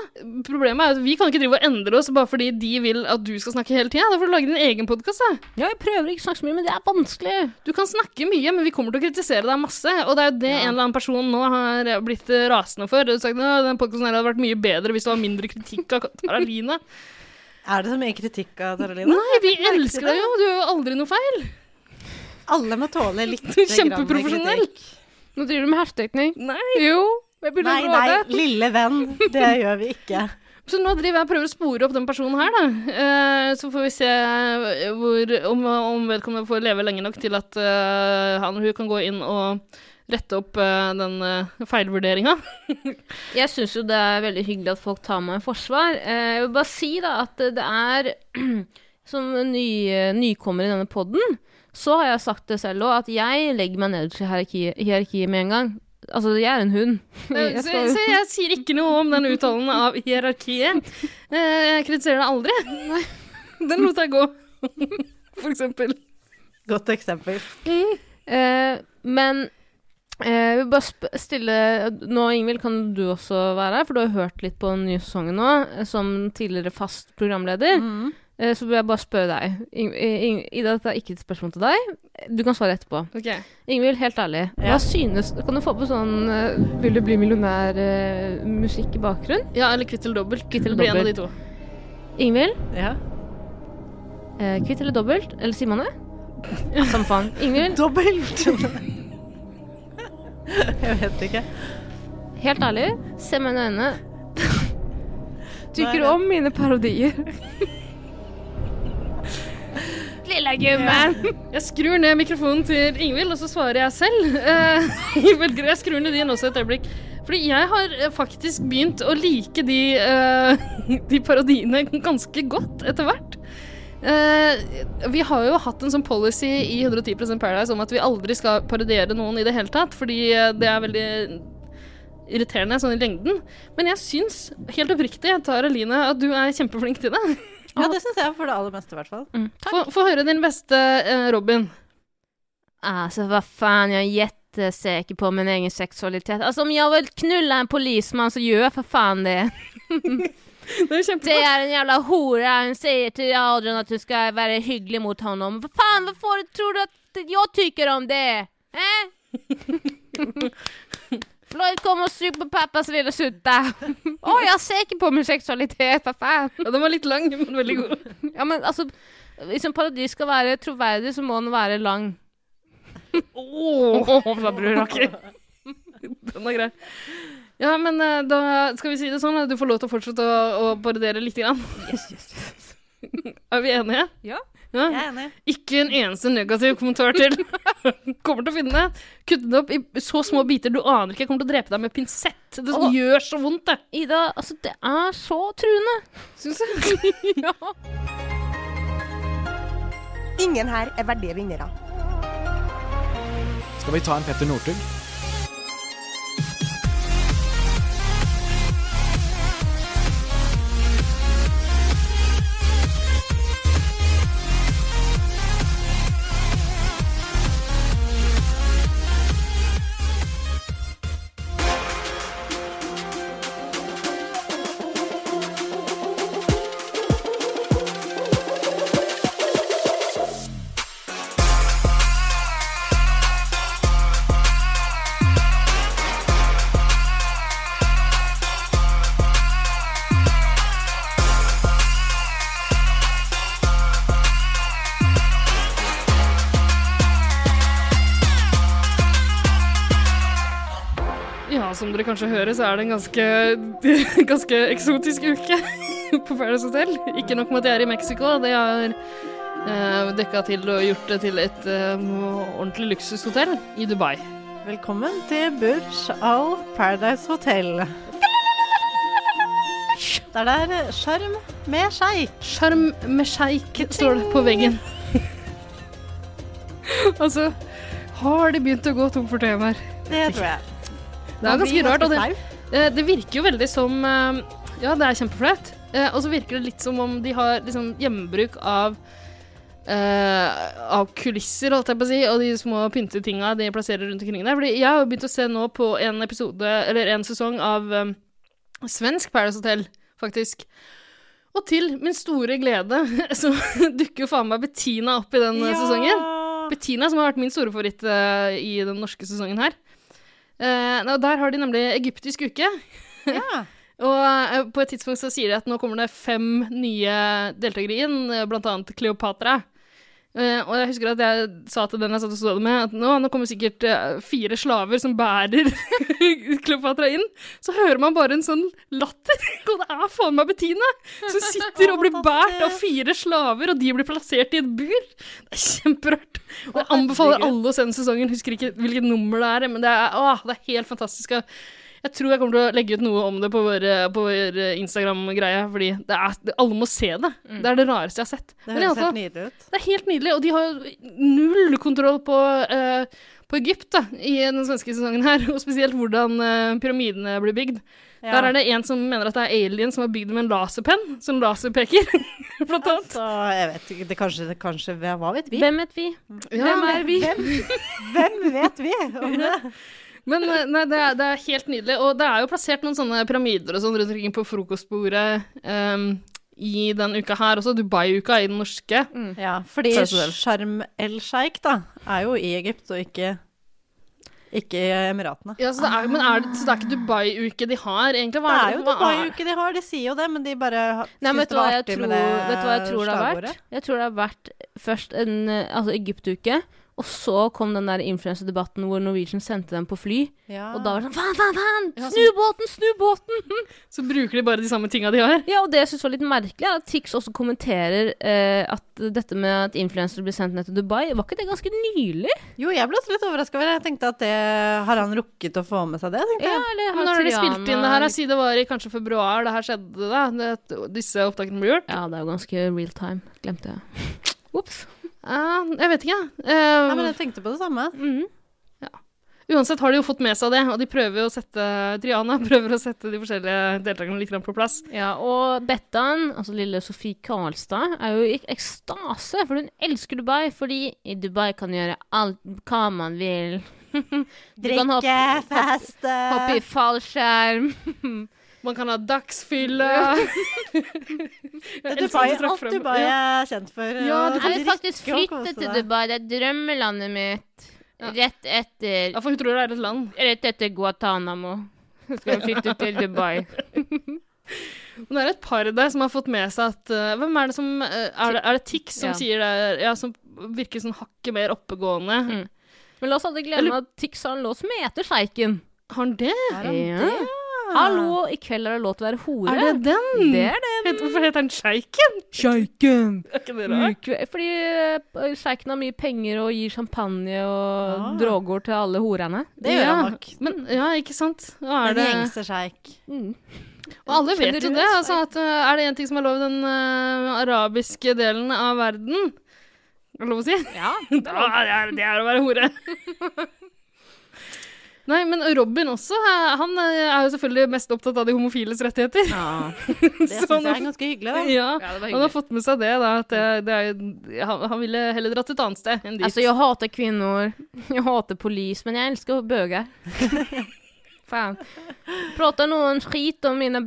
Speaker 2: Problemet er at vi kan ikke drive og endre oss bare fordi de vil at du skal snakke hele tida. Da får du lage din egen podkast, da.
Speaker 1: Ja, jeg prøver ikke å snakke så mye, men det er vanskelig.
Speaker 2: Du kan snakke mye, men vi kommer til å kritisere deg masse. Og det er jo det en eller annen person nå har blitt eh, rasende for. Du har sagt at den podkasten hadde vært mye bedre hvis det var mindre kritikk av Tara Lina.
Speaker 3: Er det så mye kritikk av Taralina?
Speaker 2: Nei, vi elsker deg jo. Du gjør jo aldri noe feil.
Speaker 3: Alle må tåle litt
Speaker 2: Du er
Speaker 3: grann
Speaker 2: kjempeprofesjonell.
Speaker 3: kritikk.
Speaker 1: Nå driver du med hersketeknikk.
Speaker 2: Nei.
Speaker 1: Jo, jeg
Speaker 3: Nei,
Speaker 1: begynner å
Speaker 3: nei,
Speaker 1: gråte.
Speaker 3: lille venn. Det gjør vi ikke.
Speaker 2: Så nå driver jeg og prøver å spore opp den personen her, da. Eh, så får vi se eh, hvor, om, om vedkommende får leve lenge nok til at eh, han og hun kan gå inn og rette opp eh, den uh, feilvurderinga.
Speaker 1: Jeg syns jo det er veldig hyggelig at folk tar meg i forsvar. Eh, Jeg vil bare si da at det er Som ny, eh, nykommer i denne podden, så har jeg sagt det selv òg, at jeg legger meg nederst i hierarkiet, hierarkiet med en gang. Altså, jeg er en hund.
Speaker 2: Eh,
Speaker 1: Jeg
Speaker 2: så,
Speaker 1: skal-
Speaker 2: så jeg sier ikke noe om den uttalen av hierarkiet. Eh, jeg kritiserer det aldri. Nei, den lot jeg gå, for eksempel.
Speaker 3: Godt eksempel.
Speaker 1: Eh, men eh, jeg vil bare sp stille Nå, Ingvild, kan du også være her, for du har hørt litt på den nye sesongen nå, eh, som tidligere fast programleder. eh, så vil jeg bare spørre deg. Ing eh, Ing Ida, dette er ikke et spørsmål til deg. Du kan svare etterpå.
Speaker 2: Ok.
Speaker 1: Ingvild, helt ærlig.
Speaker 3: Ja.
Speaker 1: Hva synes Kan du få på sånn eh, Vil du bli millionær-musikk i bakgrunnen?
Speaker 2: Ja, eller kvitt eller dobbelt.
Speaker 1: Kvitt eller
Speaker 2: Det blir en av de
Speaker 1: dobbelt.
Speaker 2: to.
Speaker 1: Ingvild,
Speaker 3: Ja.
Speaker 1: eh, kvitt eller dobbelt? Eller sier man det? Samme faen. Ingvild,
Speaker 3: Dobbelt! jeg vet ikke.
Speaker 1: helt ærlig, se meg i øynene.
Speaker 3: Nei,
Speaker 1: Tykker
Speaker 3: det-
Speaker 1: du om mine parodier? Lille gummen!
Speaker 2: Jeg skrur ned mikrofonen til Ingvild, og så svarer jeg selv. Eh, Jeg velger jeg skrur ned din også et øyeblikk. Fordi jeg har eh, faktisk begynt å like de, eh, de parodiene ganske godt etter hvert. Eh, vi har jo hatt en sånn policy i 110 Paradise om at vi aldri skal parodiere noen i det hele tatt, fordi eh, det er veldig irriterende sånn i lengden. Men jeg syns, helt oppriktig, Tara Line, at du er kjempeflink til det.
Speaker 3: Ja, det syns jeg for det aller meste, i hvert fall.
Speaker 2: Få få høre din beste eh, Robin.
Speaker 1: Alltså vad fan, jag är jättesäker på min egen sexualitet. Alltså om jag vill knulla en polisman så gör jag för fan det.
Speaker 2: Det er jo kjempebra.
Speaker 1: Det är en jävla hora, hon säger till Adrian att du ska vara hygglig mot honom. Vad fan, vad får, tror du att jag tycker om det? Eh? Floyd kom och sug på pappas lilla sutta. Åh, jag är säker på min sexualitet, vad fan.
Speaker 2: Ja, den var litt lang, men veldig god.
Speaker 1: Ja, men alltså, hvis en parodi skal være troverdig, så må den være lang.
Speaker 2: Åh, da bror, ok. Den er grei. Ja, men eh, da skal vi si det sånn, eh, du får lov til å fortsette å, å parodiere litt. Grann. Er vi enige?
Speaker 1: Ja.
Speaker 2: Ja.
Speaker 3: Jeg er enig.
Speaker 2: Ikke en eneste negativ kommentar til. Kommer til å finne det. Kutte det opp i så små biter du aner ikke. Jeg kommer til å drepe deg med pinsett. Det
Speaker 1: Åh.
Speaker 2: gjør så vondt, det.
Speaker 1: Ida, altså, det er så truende.
Speaker 2: Syns jeg.
Speaker 1: Ja.
Speaker 6: Ingen her er verdige vinnere.
Speaker 7: Skal vi ta en Petter Northug?
Speaker 2: Ja, som dere kanskje hører, så er det en ganske, ganske eksotisk uke på Paradise Hotel. Ikke nok med at jeg er i Mexico, det har eh, dekka til og gjort det til et eh, ordentlig luksushotell i Dubai.
Speaker 3: Velkommen til Burj Al Paradise Hotel. Det er der sjarm med sjeik.
Speaker 2: Sjarm med sjeik står det på veggen. altså, har de begynt å gå tom for temaer?
Speaker 3: Det tror jeg.
Speaker 2: Det er ganske rart. Og det,
Speaker 3: flaut.
Speaker 2: Eh, Det virker jo veldig som eh, Ja, det er kjempeflaut. Eh, Og så virker det litt som om de har liksom hjemmebruk av eh, av kulisser, holdt jeg på å si, og de små pyntetinga de plasserer rundt omkring der. Fordi jeg har jo begynt å se nå på en episode, eller en sesong, av eh, svensk Paradise Hotel, faktisk. Og til min store glede så dukker jo faen meg Bettina opp i den eh, sesongen. Bettina, som har vært min store favoritt eh, i den norske sesongen her. Eh, nei, og der har de nemlig egyptisk uke.
Speaker 3: Ja.
Speaker 2: Og eh, på et tidspunkt så sier de at nå kommer det fem nye deltakere inn, eh, blant annet Kleopatra. Eh, og jeg husker at jeg sa til den jeg satt og så det med, at nå, nå kommer sikkert eh, fire slaver som bærer Kleopatra inn. Så hører man bare en sånn latter, og det er faen meg Bettina! Som sitter og blir båret av fire slaver, og de blir plassert i et bur. Det er kjemperart. Og jeg anbefaler alle å se den sesongen. Husker ikke hvilket nummer det er, men det er, åh, det er helt fantastisk. Jeg- Jeg tror jeg kommer til å legge ut noe om det på vår, på vår eh, Instagram-greie, fordi det er, alle må se det. Det er det rareste jeg har sett.
Speaker 3: Mm. Det
Speaker 2: Men altså, i alle
Speaker 3: høres
Speaker 2: fall-
Speaker 3: helt nydelig ut.
Speaker 2: det er helt nydelig, og de har jo null kontroll på, eh, på Egypt da, i den svenske sesongen her, og spesielt hvordan eh, pyramidene blir bygd.
Speaker 3: Ja.
Speaker 2: Der er det en som mener at det er alien som har bygd det med en laserpenn, som laserpeker, blant annet.
Speaker 3: Så jeg vet ikke, det kanskje, det kanskje Hva vet vi?
Speaker 1: Hvem vet vi?
Speaker 2: Ja,
Speaker 1: Hvem er vi?
Speaker 3: Hvem vet vi om det?
Speaker 2: Men eh, nei, det, er, det er helt nydelig, og det er jo plassert noen sånne pyramider og sånn rundt omkring på frokostbordet eh, i den uka her også. Dubai-uka i den norske.
Speaker 3: Ja, fordi
Speaker 2: Føles det vel.
Speaker 3: Sharm el-Sheikh da, er jo i Egypt og ikke, ikke i Emiratene.
Speaker 2: Ja, så, det er, men er det, så det er ikke Dubai-uke de har, egentlig?
Speaker 3: Det
Speaker 2: Hva
Speaker 3: er jo
Speaker 2: hva
Speaker 3: Dubai-uke de har, de sier jo det, men de bare ha-
Speaker 1: Nei, men
Speaker 3: syns
Speaker 1: vet du hva jeg tror, vet du hva jeg tror det har
Speaker 3: slagordet.
Speaker 1: vært? Jeg tror det har vært først en eh, altså Egypt-uke, og så kom den der influensedebatten hvor Norwegian sendte dem på fly.
Speaker 3: Ja.
Speaker 1: Og da var det sånn Faen, faen, faen!
Speaker 2: Ja, så-
Speaker 1: Snu båten! Snu båten!
Speaker 2: Så bruker de bare de samme tinga de har.
Speaker 1: Ja, og det jeg syns var litt merkelig, er at Tix også kommenterer eh, at dette med at influensere blir sendt ned til Dubai, var ikke det ganske nylig?
Speaker 3: Jo, jeg ble også litt overraska over det. Jeg tenkte at det Har han rukket å få med seg det? tenkte
Speaker 1: Ja,
Speaker 3: jeg.
Speaker 1: eller
Speaker 2: Men
Speaker 1: har
Speaker 2: når de
Speaker 1: Triana-
Speaker 2: spilte inn det her, altså? jeg sier det var i kanskje februar det her skjedde, da. Det, disse opptakene ble gjort.
Speaker 1: Ja, det er jo ganske real time. Glemte jeg. Ops.
Speaker 2: Eh, jeg vet ikke, jeg. Eh,
Speaker 3: Nei, men jeg tenkte på det samme.
Speaker 1: Mm.
Speaker 2: Uansett har de jo fått med seg det, og de prøver jo å sette Triana prøver å sette de forskjellige deltakerne litt grann på plass.
Speaker 1: Ja, og Bettan, altså lille Sofie Karlstad, er jo i ekstase, for hun elsker Dubai, fordi i Dubai kan du gjøre alt hva man vil. Du kan hoppe-
Speaker 3: Drikke, feste
Speaker 1: Hoppe i fallskjerm.
Speaker 2: Man kan ha dagsfylle Jeg elsker
Speaker 3: Dubai,
Speaker 2: at du trakk
Speaker 3: Alt
Speaker 2: frem-
Speaker 3: Dubai
Speaker 2: Ja.
Speaker 3: er kjent for. eh,
Speaker 2: Ja, du
Speaker 1: Jeg vil faktisk
Speaker 3: drikke og
Speaker 1: flytte
Speaker 3: kose
Speaker 1: til
Speaker 3: deg.
Speaker 1: Dubai, det er drømmelandet mitt.
Speaker 2: Ja.
Speaker 1: Rett etter,
Speaker 2: Ja, for hun tror det er et land.
Speaker 1: rett etter Guatánamo. Skal vi flytte til Dubai.
Speaker 2: Men det er et par der som har fått med seg at eh, Hvem er det som eh, Er det, er det Tix som
Speaker 1: Ja.
Speaker 2: sier det? Ja, som virker sånn hakket mer oppegående.
Speaker 1: Mm. Men la oss aldri glemme at Tix har en låt som heter Sjeiken.
Speaker 2: Har han det?
Speaker 3: Er han
Speaker 1: Ja.
Speaker 3: det?
Speaker 1: Hallo, i kveld er det lov til å være hore.
Speaker 2: Er det den?
Speaker 1: Det er
Speaker 2: Vet du Hvorfor heter han Sjeiken?
Speaker 1: Sjeiken!
Speaker 2: Er ikke det rart?
Speaker 1: Ukve- Fordi eh, sjeiken har mye penger og gir champagne og
Speaker 3: Ah.
Speaker 1: droger til alle horene.
Speaker 3: Det gjør han
Speaker 2: Ja,
Speaker 3: nok.
Speaker 2: Men, ja, ikke sant? Og, er
Speaker 3: En
Speaker 2: det,
Speaker 3: gjengse sjeik.
Speaker 1: Mm.
Speaker 2: og alle vet jo
Speaker 1: Generøs,
Speaker 2: det. Altså, at, eh, er det én ting som er lov i den eh, arabiske delen av verden Er det lov å si?
Speaker 1: Ja, Ah.
Speaker 2: Ja, det er, det er å være hore. Nei, men Robin også. eh, Han eh, er jo selvfølgelig mest opptatt av de homofiles rettigheter.
Speaker 3: Det syns jeg er ganske hyggelig. Da.
Speaker 2: Ja,
Speaker 1: det var
Speaker 2: Han har fått med seg det, da. At det, det er, han, han ville heller dratt et annet sted enn dit.
Speaker 1: Altså, jeg hater kvinner, jeg hater polis, men jeg elsker bøger. Fan. Prater noen skit om mine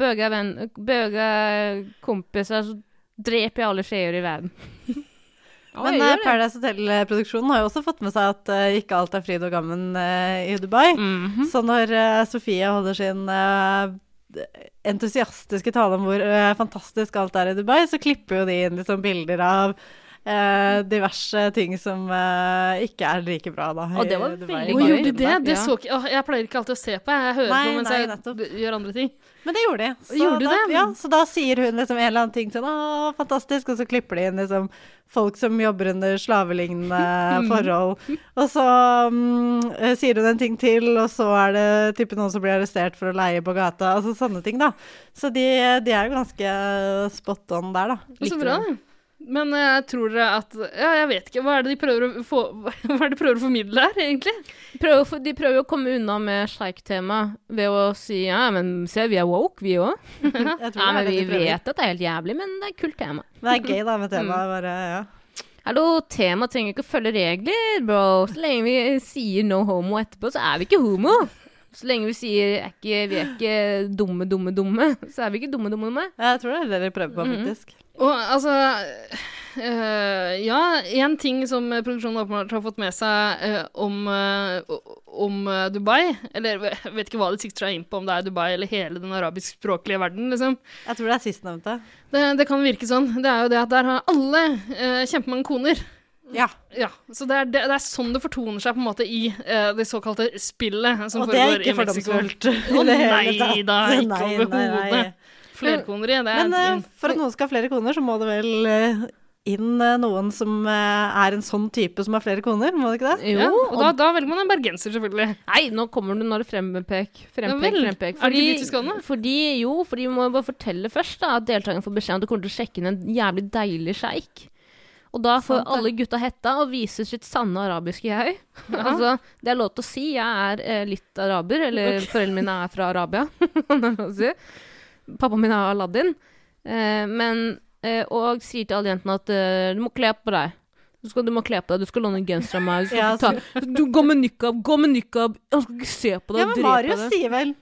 Speaker 1: bøgekompiser, så dreper jeg alle skjeer i verden. Ja,
Speaker 3: Men
Speaker 1: jeg
Speaker 3: eh,
Speaker 1: gjør det.
Speaker 3: Paradise Hotel-produksjonen har jo også fått med seg at eh, ikke alt er fryd og gammen eh, i Dubai.
Speaker 1: Mhm.
Speaker 3: Så når eh, Sofie holder sin eh, entusiastiske tale om hvor eh, fantastisk alt er i Dubai, så klipper jo de inn liksom bilder av eh, diverse ting som eh, ikke er like bra da.
Speaker 1: Å, det
Speaker 3: i
Speaker 1: var
Speaker 3: Dubai.
Speaker 1: veldig
Speaker 2: Å,
Speaker 1: gøy.
Speaker 2: gjorde de det? Det
Speaker 1: Ja.
Speaker 2: så ikke, åh, jeg pleier ikke alltid å se på. Jeg hører
Speaker 3: Nei,
Speaker 2: på mens
Speaker 3: nei,
Speaker 2: jeg
Speaker 3: nettopp.
Speaker 2: gjør andre ting.
Speaker 3: Men det gjorde de. Så,
Speaker 2: Gjorde de
Speaker 3: da,
Speaker 2: det?
Speaker 3: Ja, så da sier hun liksom en eller annen ting sånn Å, fantastisk. Og så klipper de inn liksom folk som jobber under slavelignende
Speaker 1: Mm.
Speaker 3: forhold. Og så mm, eh, sier hun en ting til, og så er det type noen som blir arrestert for å leie på gata. Altså sånne ting, da. Så de, de er jo ganske spot on der, da.
Speaker 2: Så bra, det. Men eh, jeg tror dere at Ja, jeg vet ikke. Hva er det de prøver å, få, hva er det de prøver å formidle her, egentlig?
Speaker 1: Prøver, å få- de prøver å komme unna med sjeik-tema ved å si ja, men se, vi er woke, vi òg.
Speaker 3: Jeg tror
Speaker 1: Ja,
Speaker 3: det
Speaker 1: men
Speaker 3: er det
Speaker 1: vi
Speaker 3: de prøver.
Speaker 1: vet Mm. at det er helt jævlig, men det er et kult tema.
Speaker 3: Men det er gøy, da, med temaet. Bare, ja.
Speaker 1: Hallo, tema trenger ikke å følge regler, bro. Så lenge vi sier no homo etterpå, så er vi ikke homo. Så lenge vi sier er ikke, vi er ikke dumme, dumme, dumme, så er vi ikke dumme, dumme, dumme.
Speaker 3: Jeg tror det er det de prøver
Speaker 1: Mm-hmm.
Speaker 3: på, faktisk.
Speaker 2: Og altså øh, Ja, én ting som produksjonen åpenbart har fått med seg øh, om, øh, o- om øh, Dubai Eller jeg vet ikke hva de sikter seg inn på, om det er Dubai eller hele den arabiskspråklige verden. liksom.
Speaker 3: Jeg tror det er sistnevnte.
Speaker 2: Det, det kan virke sånn. Det er jo det at der har alle øh, kjempemange koner.
Speaker 3: Ja.
Speaker 2: Ja, så det er, det, det er sånn det fortoner seg på en måte i øh, det såkalte spillet som
Speaker 3: Og det er
Speaker 2: foregår i
Speaker 3: ikke
Speaker 2: Mexico.
Speaker 3: fordomsfullt.
Speaker 2: Å
Speaker 3: i det hele
Speaker 2: nei da,
Speaker 3: tatt.
Speaker 2: ikke
Speaker 3: Nei, nei, nei.
Speaker 2: overhodet. Flerkoneri, det er
Speaker 3: Men eh,
Speaker 2: en ting.
Speaker 3: for at noen skal ha flere koner, så må det vel eh, inn eh, noen som eh, er en sånn type som har flere koner, må det ikke det?
Speaker 1: Jo,
Speaker 2: Ja, og da,
Speaker 1: og
Speaker 2: da velger man en bergenser, selvfølgelig.
Speaker 1: Nei, nå kommer du når det frempek.
Speaker 2: Ja
Speaker 1: Frempek,
Speaker 2: vel.
Speaker 1: frempek.
Speaker 2: Er det ikke dit vi skal nå?
Speaker 1: Fordi, jo, for de må jo bare fortelle først da, at deltakerne får beskjed om at du kommer til å sjekke inn en jævlig deilig sjeik. Og da får alle gutta hetta og viser sitt sanne arabiske jeg. altså, det er lov til å si. Jeg er eh, litt araber, eller foreldrene mine er fra Arabia. det er lov å si. Pappaen min er Aladdin. Eh, men, eh, og sier til alle jentene at eh, du må kle på deg. Du, skal, du må kle på deg, du skal låne en genser av meg. Du, skal
Speaker 3: Ja, altså.
Speaker 1: ikke ta, du Gå med nikab, gå med nikab! Han skal ikke se på deg
Speaker 3: Ja,
Speaker 1: og
Speaker 3: men
Speaker 1: drepe
Speaker 3: Marius
Speaker 1: deg.
Speaker 3: sier vel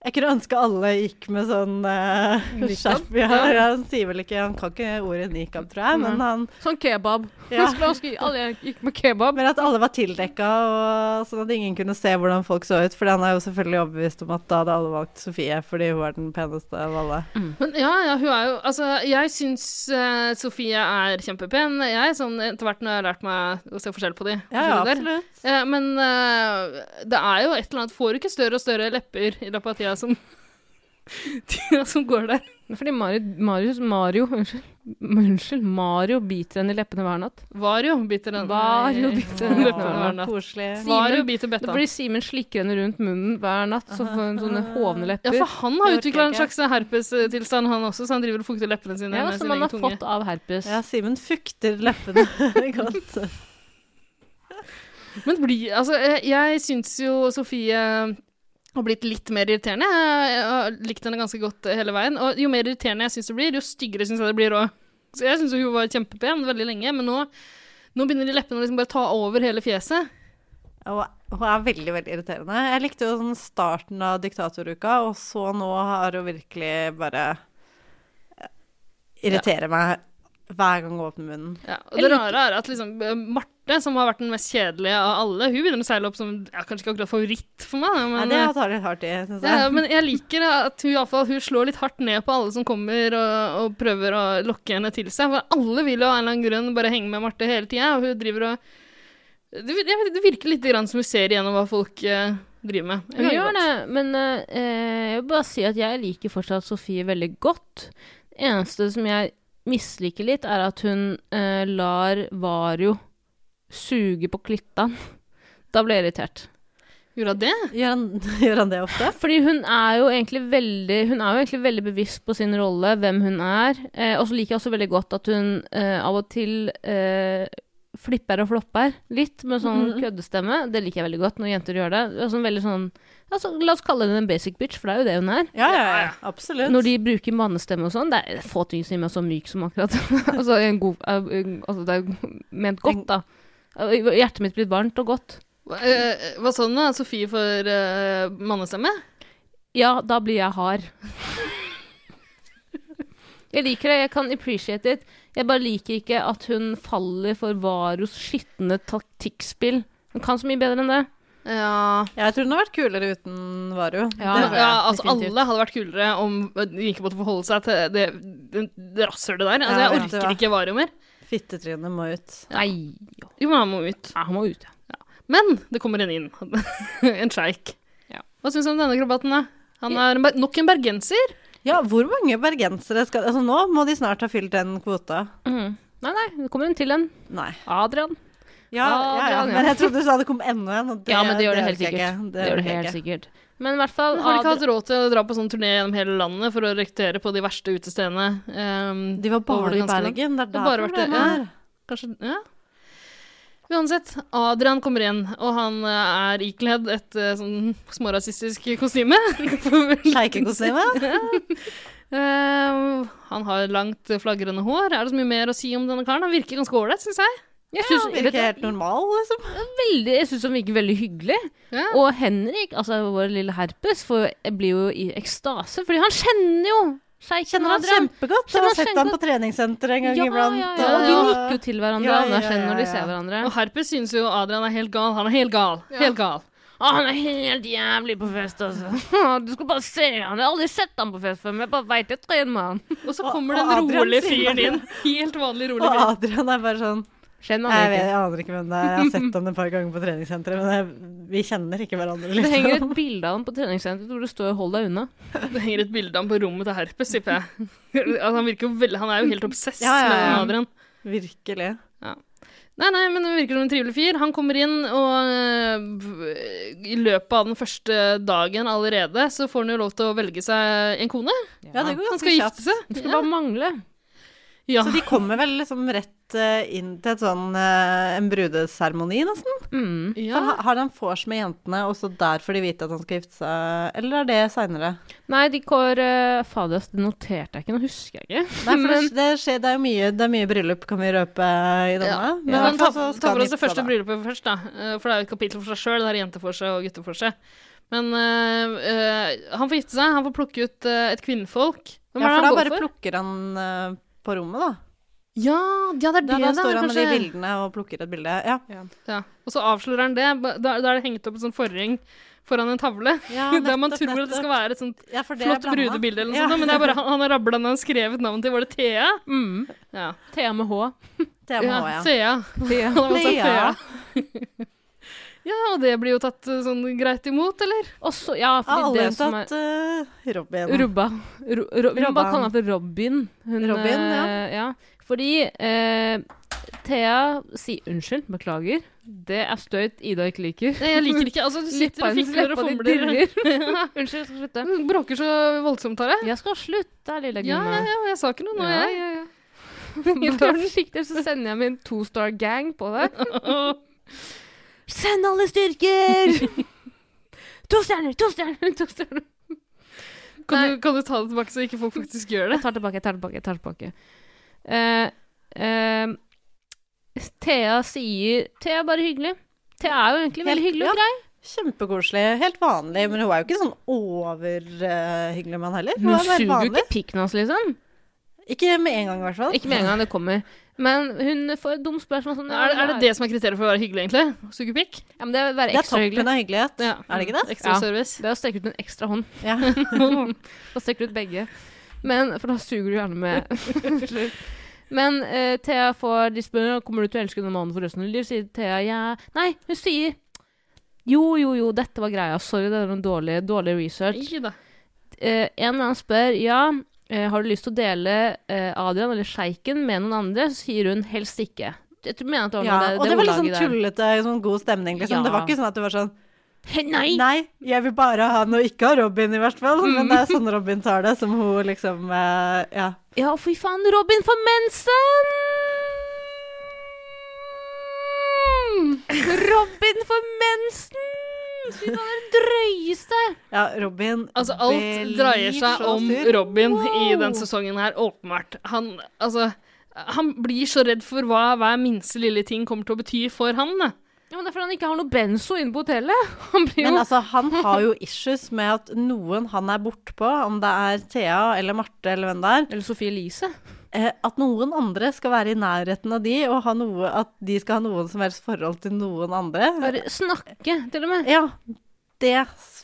Speaker 3: Jeg kunne ønske alle gikk med sånn eh,
Speaker 2: Niqab?
Speaker 3: skjerf. Ja, ja, han sier vel ikke Han kan ikke ordet nikab, tror jeg, men han
Speaker 1: Sånn kebab.
Speaker 3: Ja.
Speaker 1: Jeg skulle ønske alle gikk med kebab.
Speaker 3: Men at alle var tildekka, og sånn at ingen kunne se hvordan folk så ut. For han er jo selvfølgelig overbevist om at da hadde alle valgt Sofie, fordi hun var den peneste av alle.
Speaker 2: Men ja, ja, hun er jo Altså, jeg syns eh, Sofie er kjempepen, jeg, sånn etter hvert når jeg har lært meg å se forskjell på de.
Speaker 3: Ja, ja,
Speaker 2: forskjellige der.
Speaker 3: absolutt.
Speaker 2: Eh, men eh, det er jo et eller annet Får ikke større og større lepper i løpet av tida som Tida som går der.
Speaker 1: Fordi Mario, Marius, Mario, unnskyld, unnskyld, Mario biter henne i leppene hver natt.
Speaker 2: Var jo biter den.
Speaker 1: Var jo biter den.
Speaker 2: Løpet av hver natt.
Speaker 3: Koselig.
Speaker 2: Var jo biter
Speaker 1: Det
Speaker 2: betta.
Speaker 1: blir Simen slikker henne rundt munnen hver natt, så får hun sånne hovne
Speaker 2: Ja,
Speaker 1: lepper.
Speaker 2: for han har
Speaker 3: Det orker
Speaker 2: utvikla en
Speaker 3: jeg ikke.
Speaker 2: slags herpestilstand, han også, så han driver og fukter leppene sine
Speaker 1: Ja,
Speaker 2: med
Speaker 1: som
Speaker 2: sin
Speaker 1: man
Speaker 2: egen
Speaker 1: har
Speaker 2: tunge.
Speaker 1: fått av herpes.
Speaker 3: Ja, Simen fukter leppene godt.
Speaker 2: Men det blir Altså, eh, jeg syns jo Sofie har blitt litt mer irriterende. Jeg jeg har likt henne ganske godt eh, hele veien. Og jo mer irriterende jeg syns det blir, jo styggere syns jeg det blir òg. Så jeg syns hun var kjempepen veldig lenge, men nå, nå begynner de leppene å liksom bare ta over hele fjeset.
Speaker 3: Og hun er veldig, veldig irriterende. Jeg likte jo sånn starten av diktatoruka, og så nå har hun virkelig bare eh, irriterer meg hver gang hun åpner munnen.
Speaker 2: Ja, og det rare er at liksom eh, Marte, som har vært den mest kjedelige av alle, hun begynner å seile opp som ja, kanskje ikke akkurat favoritt for meg, da, men
Speaker 1: Mm.
Speaker 3: Nei, det tar litt hardt i, syns
Speaker 2: Ja,
Speaker 3: jeg.
Speaker 2: men jeg liker at hun, i alle fall, hun slår litt hardt ned på alle som kommer og, og prøver å lokke henne til seg. For alle vil jo av en eller annen grunn bare henge med Marte hele tida, og hun driver og det, jeg vet- det virker litt grann som hun ser igjennom hva folk eh, driver med. Jeg
Speaker 1: Hun
Speaker 2: liker
Speaker 1: gjør
Speaker 2: godt.
Speaker 1: det, men eh, jeg vil bare si at jeg liker fortsatt Sofie veldig godt. Det eneste som jeg misliker litt, er at hun eh, lar Vario suge på klittan. Da ble jeg irritert.
Speaker 2: Gjorde hun det?
Speaker 3: Gjør han, gjør han det ofte?
Speaker 1: Fordi hun er jo egentlig veldig Hun er jo egentlig veldig bevisst på sin rolle, hvem hun er. Eh, og så liker jeg også veldig godt at hun eh, av og til eh, flipper og flopper litt med sånn køddestemme. Det liker jeg veldig godt når jenter gjør det. det er sånn veldig sånn altså, La oss kalle henne en basic bitch, for det er jo det hun er.
Speaker 3: Ja, ja, ja. Absolutt.
Speaker 1: Når de bruker mannestemme og sånn, det er få ting som gjør meg så myk som akkurat altså, en god, eh, altså, det er jo ment godt, da. Hjertet mitt blir varmt og godt.
Speaker 2: Hva, eh, hva sa hun da? Sofie for eh, mannestemme?
Speaker 1: Ja, da blir jeg hard. Jeg liker det, jeg kan appreciate it. Jeg bare liker ikke at hun faller for Varos skitne taktikkspill. Hun kan så mye bedre enn det.
Speaker 2: Ja,
Speaker 3: Jeg tror den har vært kulere uten Varu.
Speaker 1: Ja,
Speaker 2: ja,
Speaker 3: det, tror jeg.
Speaker 2: altså Alle hadde vært kulere om de ikke måtte forholde seg til det, det, det rasshølet der. Altså,
Speaker 3: Ja,
Speaker 2: jeg
Speaker 3: vet du
Speaker 2: orker
Speaker 3: hva.
Speaker 2: ikke Vario mer.
Speaker 3: Fittetrynet må ut.
Speaker 1: Nei,
Speaker 2: Jo, men han må ut.
Speaker 1: ja, han må ut. ja.
Speaker 2: Men det kommer en inn. en sjeik. Hva syns du om denne krabaten, da? Han er en ber- nok en bergenser.
Speaker 3: Ja, hvor mange bergensere skal Altså, nå må de snart ha fylt den kvota.
Speaker 1: Mhm. Nei, nei, det kommer en til en.
Speaker 3: Nei.
Speaker 1: Adrian.
Speaker 3: Ja,
Speaker 1: Ah,
Speaker 3: ja, ja.
Speaker 1: Adrian, ja.
Speaker 3: Men jeg trodde du sa det kom enda en. og
Speaker 1: ja, men det gjør det, helt
Speaker 3: orker jeg
Speaker 1: sikkert.
Speaker 3: ikke.
Speaker 1: Det gjør det
Speaker 3: orker jeg
Speaker 1: helt
Speaker 3: ikke.
Speaker 1: sikkert. Men i hvert fall
Speaker 2: Har de ikke
Speaker 1: Adrian-
Speaker 2: hatt råd til å dra på sånn turné gjennom hele landet for å rekruttere på de verste utestedene? ehm,
Speaker 3: De var
Speaker 2: over
Speaker 3: bare
Speaker 2: det
Speaker 3: i
Speaker 2: ganske land?
Speaker 3: Bergen. Det er
Speaker 2: Det har
Speaker 3: der
Speaker 2: bare vært det,
Speaker 3: problemet
Speaker 2: ja.
Speaker 3: er.
Speaker 2: Kanskje, ja. Uansett, Adrian kommer inn, og han eh, er ikledd et eh, sånn smårasistisk kostyme.
Speaker 3: Sjeikekostyme?
Speaker 2: Ehm, han har langt, flagrende hår. Er det så mye mer å si om denne karen? Han virker ganske ålreit, syns jeg.
Speaker 1: Jeg
Speaker 3: Ja,
Speaker 1: syns
Speaker 3: Virker helt normal, liksom.
Speaker 1: veldig, jeg synes han virker veldig hyggelig.
Speaker 2: Ja.
Speaker 1: Og Henrik, altså vår lille herpes, får, blir jo i ekstase, fordi han kjenner jo sjeiken
Speaker 3: Kjenner han
Speaker 1: Adrian.
Speaker 3: kjempegodt. Jeg
Speaker 1: Kjenner han
Speaker 3: har sett ham på treningssenteret en gang
Speaker 1: Ja, ja,
Speaker 3: iblant.
Speaker 1: ja,
Speaker 3: og-
Speaker 1: De nikker jo til hverandre
Speaker 3: Ja,
Speaker 1: og
Speaker 3: ja,
Speaker 1: anerkjenner når de
Speaker 3: ja,
Speaker 1: ser
Speaker 3: ja.
Speaker 1: hverandre.
Speaker 2: Og Herpes syns jo Adrian er helt gal. Han er helt gal. Helt gal.
Speaker 1: Å, han er helt jævlig på fest, altså. Du skal bare se han. Jeg har aldri sett han på fest før, men jeg bare veit jeg trener med han.
Speaker 2: Og så
Speaker 3: Og-
Speaker 2: kommer
Speaker 3: og
Speaker 2: den
Speaker 3: Adrian
Speaker 2: rolige
Speaker 3: sier
Speaker 2: fyren
Speaker 3: det.
Speaker 2: inn. Helt vanlig rolig
Speaker 3: Og
Speaker 2: fyr.
Speaker 3: Adrian er bare sånn
Speaker 1: Kjenner
Speaker 3: Jeg,
Speaker 1: han
Speaker 3: vet,
Speaker 1: ikke.
Speaker 3: jeg aner ikke hvem det er. Jeg har sett ham et par ganger på treningssenteret, men jeg, vi kjenner ikke hverandre. Liksom.
Speaker 1: Det henger et bilde av han på treningssenteret hvor det står 'hold deg unna'.
Speaker 2: Det henger et bilde av ham på rommet til Herpes, tipper jeg. Altså, han, virker jo veldig- han er jo helt obsess
Speaker 3: Ja, ja,
Speaker 2: med
Speaker 3: ja.
Speaker 2: Adrian.
Speaker 3: Virkelig.
Speaker 2: Nei, nei, men det virker som en trivelig fyr. Han kommer inn, og øh, i løpet av den første dagen allerede, så får han jo lov til å velge seg en kone.
Speaker 3: Ja, det går
Speaker 2: Han skal
Speaker 3: ganske kjapt.
Speaker 2: gifte seg.
Speaker 1: Det skulle bare mangle.
Speaker 2: Ja.
Speaker 3: Så de kommer vel liksom rett eh, inn til et sånn, eh, en brudeseremoni, nesten?
Speaker 1: Mm.
Speaker 2: ja.
Speaker 3: Han, har han vors med jentene, og så der får de vite at han skal gifte seg? Eller er det seinere?
Speaker 1: Nei, de går uh, Fader, ass, det noterte jeg ikke. Nå husker jeg ikke.
Speaker 3: Nei, for det, det, skjer, det, er jo mye, det er mye bryllup, kan vi røpe eh, i denne.
Speaker 2: Ja.
Speaker 3: Men i
Speaker 2: Men
Speaker 3: hvert
Speaker 2: ta,
Speaker 3: fall
Speaker 2: ta
Speaker 3: så skal han
Speaker 2: for oss det
Speaker 3: gifte seg
Speaker 2: første
Speaker 3: da.
Speaker 2: bryllupet først, da. Eh, For det er jo et kapittel for seg sjøl, der jenter får seg og gutter får seg. Men eh, eh, han får gifte seg, han får plukke ut eh, et kvinnfolk. Hvem
Speaker 3: Ja,
Speaker 2: er det
Speaker 3: for da
Speaker 2: han går
Speaker 3: bare
Speaker 2: for?
Speaker 3: plukker han eh, på rommet, da.
Speaker 2: Ja, ja, det er det,
Speaker 3: Da, da
Speaker 2: det
Speaker 3: står
Speaker 2: er,
Speaker 3: han med de
Speaker 2: kanskje.
Speaker 3: bildene og plukker et bilde. Ja,
Speaker 2: Ja. Og så avslører han det. Ba- Da, da er det hengt opp en sånn forring foran en tavle.
Speaker 3: Ja,
Speaker 2: der man
Speaker 3: nettopp,
Speaker 2: tror at det skal være et sånt
Speaker 3: ja for det er
Speaker 2: flott
Speaker 3: blanda.
Speaker 2: brudebilde eller noe
Speaker 3: Ja.
Speaker 2: sånt. Men det er bare han, han har rabla ned og skrevet navnet til. Var det Thea?
Speaker 1: Mm.
Speaker 2: Ja.
Speaker 1: Thea med H.
Speaker 3: Tema
Speaker 2: Ja,
Speaker 3: også, ja.
Speaker 2: Thea.
Speaker 1: Thea.
Speaker 2: Han har valgt seg
Speaker 3: Thea.
Speaker 2: Thea. ja, og det blir jo tatt eh, sånn greit imot, eller?
Speaker 1: Og så, ja,
Speaker 3: Av
Speaker 1: fordi
Speaker 3: alle
Speaker 1: det som er
Speaker 3: unntatt eh, Robin.
Speaker 1: Robba. Ro, ro, vi må bare
Speaker 3: Robban.
Speaker 1: kalle henne for Robin. Hun,
Speaker 3: Robin, ja.
Speaker 1: eh, ja. Fordi eh, Thea sier unnskyld, beklager. Det er støyt Ida ikke liker.
Speaker 2: Nei, jeg liker ikke Altså, du sitter og fikler og
Speaker 1: dirrer.
Speaker 2: fomler.
Speaker 1: unnskyld, jeg skal slutte.
Speaker 2: Du bråker så voldsomt, Tare.
Speaker 1: Jeg skal slutte, lille
Speaker 2: Ja,
Speaker 1: Gunne.
Speaker 2: ja, ja, jeg sa ikke noe nå,
Speaker 1: Ja,
Speaker 2: jeg.
Speaker 1: Bare forsiktig, så sender jeg min two star gang på deg. Send alle styrker! to stjerner, to stjerner, to stjerner.
Speaker 2: Kan
Speaker 1: Nei.
Speaker 2: du, kan du ta det tilbake, så ikke folk faktisk gjør det?
Speaker 1: Jeg tar tilbake, jeg tar tilbake, jeg tar tilbake. Eh, eh, Thea sier Thea er bare hyggelig. Thea er jo egentlig veldig
Speaker 3: Helt-
Speaker 1: hyggelig og
Speaker 3: ja.
Speaker 1: grei.
Speaker 3: Kjempekoselig. Helt vanlig. Men hun er jo ikke sånn overhyggelig mann heller. Hun
Speaker 1: Hun
Speaker 3: er
Speaker 1: suger
Speaker 3: bare
Speaker 1: jo
Speaker 3: vanlig.
Speaker 1: ikke pikken hans, liksom.
Speaker 3: Ikke med en gang, i hvert fall.
Speaker 1: Ikke med en gang det kommer. Men hun får et dumt spørsmål sånn
Speaker 2: Er, er det det som er kriteriet for å være hyggelig, egentlig? Suge pikk?
Speaker 1: Ja, men det er å være
Speaker 3: Det er
Speaker 1: ekstra
Speaker 3: toppen
Speaker 1: hyggelig.
Speaker 3: av hyggelighet. Er det ikke det?
Speaker 2: Ekstra
Speaker 1: Ja.
Speaker 2: service.
Speaker 1: Det er å strekke ut en ekstra hånd.
Speaker 3: Ja.
Speaker 1: da strekker du ut begge. Men, for da suger du gjerne med. Men eh, Thea får de spør kommer du til å elske denne mannen for resten av ditt liv. Sier Thea ja. Nei, hun sier jo, jo, jo, dette var greia. Sorry, det var en dårlig, dårlig research.
Speaker 2: Ikke da.
Speaker 1: Eh, en eller annen spør ja, eh, har du lyst til å dele eh, Adrian eller sjeiken med noen andre, så sier hun helst ikke. Jeg tror- mener at det,
Speaker 3: ja.
Speaker 1: ordner
Speaker 3: Og det var litt sånn
Speaker 1: ordlaget der.
Speaker 3: tullete, sånn god stemning, liksom.
Speaker 1: Ja.
Speaker 3: Det var ikke sånn at du var sånn
Speaker 1: He, nei!
Speaker 3: Nei, jeg vil bare ha han og ikke ha Robin, i hvert fall. Men det er
Speaker 2: Mm.
Speaker 3: sånn Robin tar det, som hun liksom eh, Ja.
Speaker 1: Ja, fy faen, Robin får mensen! Robin får mensen! Fy faen, det er det drøyeste!
Speaker 3: ja Robin
Speaker 2: Altså, alt
Speaker 3: blir
Speaker 2: dreier seg
Speaker 3: så
Speaker 2: om
Speaker 3: sur.
Speaker 2: Robin i
Speaker 1: Wow.
Speaker 2: den sesongen her, åpenbart. Han, altså, han blir så redd for hva hver minste lille ting kommer til å bety for han. Da.
Speaker 1: Ja, men Det er fordi han ikke har noe benzo inne på hotellet. Han blir jo
Speaker 3: Men altså, han har jo issues med at noen han er bortpå, om det er Thea eller Marte eller hvem det er,
Speaker 1: Eller Sophie Elise.
Speaker 3: eh, at noen andre skal være i nærheten av de, og ha noe, at de skal ha noen som helst forhold til noen andre.
Speaker 1: Bare snakke, til og med.
Speaker 3: Ja, det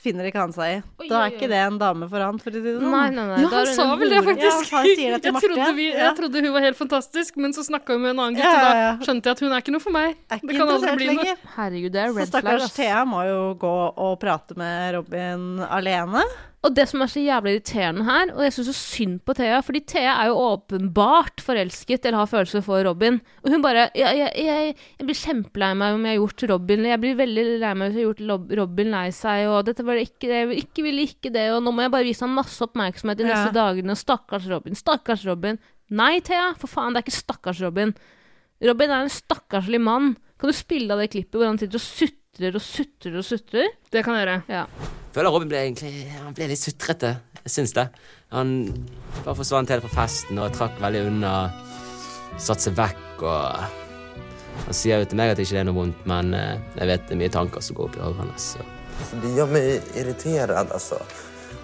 Speaker 3: finner ikke han seg i.
Speaker 1: Oi, oi,
Speaker 3: Da er
Speaker 1: oi.
Speaker 3: ikke det en dame for han, for å si det sånn.
Speaker 1: Nei, nei, nei.
Speaker 2: Ja,
Speaker 1: da er
Speaker 2: han
Speaker 1: hun
Speaker 2: sa
Speaker 1: en
Speaker 2: vel det,
Speaker 1: hore.
Speaker 2: faktisk.
Speaker 3: Ja, han sier det til
Speaker 2: jeg,
Speaker 3: Marte,
Speaker 2: trodde vi,
Speaker 3: ja.
Speaker 2: jeg trodde hun var helt fantastisk, men så snakka hun med en annen gutt,
Speaker 3: Ja,
Speaker 2: og
Speaker 3: ja, ja.
Speaker 2: da skjønte jeg at hun er ikke noe for meg.
Speaker 3: Er ikke
Speaker 2: Det kan aldri
Speaker 3: interessert
Speaker 2: bli noe.
Speaker 3: lenger.
Speaker 1: Herregud, det er
Speaker 3: Så
Speaker 1: red flag.
Speaker 3: stakkars
Speaker 1: ass.
Speaker 3: Thea må jo gå og prate med Robin alene.
Speaker 1: Og det som er så jævlig irriterende her, og jeg syns så synd på Thea, fordi Thea er jo åpenbart forelsket eller har følelser for Robin, og hun bare jeg, jeg, jeg, jeg blir kjempelei meg om jeg har gjort Robin Jeg blir veldig lei meg hvis jeg har gjort Lob- Robin lei seg, og dette var ikke det, jeg vil- ikke ville ikke det, og nå må jeg bare vise ham masse oppmerksomhet de neste
Speaker 3: Ja.
Speaker 1: dagene, og stakkars Robin, stakkars Robin. Nei, Thea, for faen, det er ikke stakkars Robin. Robin er en stakkarslig mann. Kan du spille av det klippet hvor han sitter og sutrer og sutrer og sutrer?
Speaker 2: Det kan jeg gjøre.
Speaker 1: Ja.
Speaker 7: føler Robin ble egentlig han ble litt sutrete. Jeg syns det. Han bare forsvant helt fra festen og trakk veldig unna. Satte seg vekk og Han sier jo til meg at ikke det er noe vondt, men eh, jeg vet det er mye tanker som går opp i hodet hans. så-
Speaker 8: Det gör mig irriterad alltså.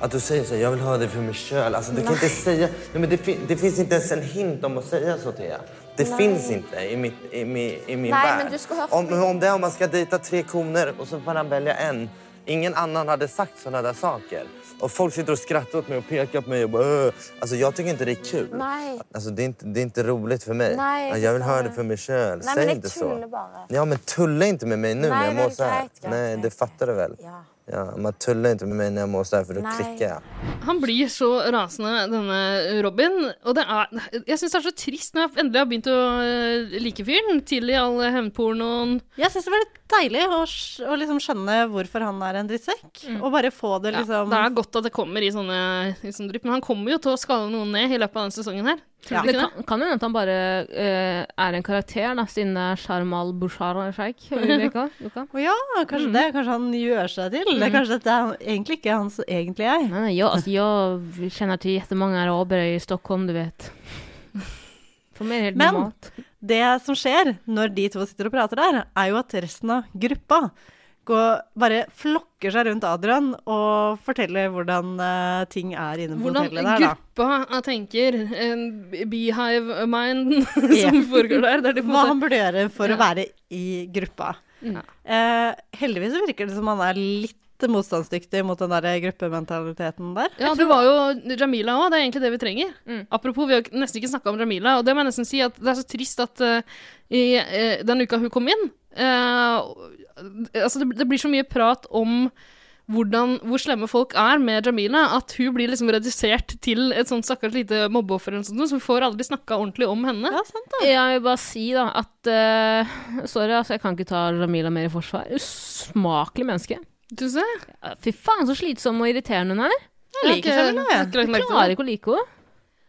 Speaker 8: Att du säger så här, jag vill ha det för mig själv. Alltså, du kan inte säga... Nej, men det, fin- det finns inte ens en hint om att säga så till er. Det finns inte i, mitt, i, min- i min
Speaker 9: Nej,
Speaker 8: värld.
Speaker 9: men du ska ha-
Speaker 8: om, om det är om man ska dejta tre koner och så får han välja en. Ingen annan hade sagt sådana där saker. Och folk sitter och skrattar åt mig och pekar på mig och bara... "Åh." Alltså, jag tycker inte det är kul.
Speaker 9: Nej.
Speaker 8: Alltså, det, är inte, det är inte roligt för mig.
Speaker 9: Nej,
Speaker 8: Ja,
Speaker 9: det
Speaker 8: jag vill
Speaker 9: förstår
Speaker 8: ha
Speaker 9: jag.
Speaker 8: det för mig själv.
Speaker 9: Nej, men
Speaker 8: Säg
Speaker 9: det
Speaker 8: inte
Speaker 9: tuller
Speaker 8: så.
Speaker 9: bara.
Speaker 8: Ja, men tulla inte med mig nu
Speaker 9: Nej,
Speaker 8: när jag
Speaker 9: men
Speaker 8: mår så här.
Speaker 9: grejt, grejt,
Speaker 8: Nej, det
Speaker 9: grejt.
Speaker 8: fattar du väl?
Speaker 9: Ja.
Speaker 8: Ja, man tullar inte med mig när jag mår så här för då
Speaker 9: Nej.
Speaker 8: klickar jag.
Speaker 2: Han blir så rasende, denne Robin. Og det er, jeg syns det er så trist når jeg endelig har begynt å øh, like fyren. Tidlig i all hevnpornoen.
Speaker 3: Jeg syns det var litt deilig å, sk- å liksom skjønne hvorfor han er en drittsekk.
Speaker 1: Mm.
Speaker 3: Og bare få det
Speaker 2: Ja,
Speaker 3: liksom
Speaker 2: det er godt at det kommer i sånne, i sånne drypp, men han kommer jo til å skalle noen ned i løpet av denne sesongen her. Tror
Speaker 3: Ja.
Speaker 2: du
Speaker 1: Det
Speaker 2: ikke det?
Speaker 1: kan kan jo hende at han bare eh, er en karakter, da, siden det er Sharm al-Bushara Sheikh. Nei,
Speaker 3: Å ja, kanskje
Speaker 1: Mm.
Speaker 3: det. Kanskje han gjør seg til. Det er kanskje dette er egentlig ikke hans egentlige jeg.
Speaker 1: nei, jeg, altså, jeg kjenner til jättemånga araber i Stockholm, du vet. For meg er det helt
Speaker 3: Men-
Speaker 1: normalt.
Speaker 3: Det som skjer når de to sitter og prater der, er jo at resten av gruppa gå, bare flokker seg rundt Adrian og forteller hvordan eh, ting er inne på
Speaker 2: Hvordan
Speaker 3: hotellet der, da.
Speaker 2: gruppa jeg tenker, en beehive mind
Speaker 3: Ja.
Speaker 2: som foregår der. der de på en
Speaker 3: Hva
Speaker 2: måte,
Speaker 3: han burde gjøre for
Speaker 2: Ja.
Speaker 3: å være i gruppa.
Speaker 2: Ja.
Speaker 3: Eh, heldigvis så virker det som han er litt motstandsdyktig mot den der gruppementaliteten der.
Speaker 2: ja, det var jo Jamila òg, det er egentlig det vi trenger.
Speaker 3: Mm.
Speaker 2: Apropos, vi har ikke- nesten ikke snakka om Jamila, og det må jeg nesten si at det er så trist at eh, i eh, den uka hun kom inn eh, Altså, det, det blir så mye prat om hvordan, hvor slemme folk er med Jamila, at hun blir liksom redusert til et sånt stakkars lite mobbeoffer eller noe sånt, så vi får aldri snakka ordentlig om henne.
Speaker 3: Ja, sant da.
Speaker 1: Jeg vil bare si da at eh, Sorry, altså, jeg kan ikke ta Jamila mer i forsvar. Usmakelig menneske.
Speaker 2: Du ser?
Speaker 1: Ja, Fy faen, så slitsom og irriterende hun er.
Speaker 3: Jeg liker seg vel nå, jeg.
Speaker 2: jeg. har ikke lagt merke til det.
Speaker 1: Klarer ikke å like henne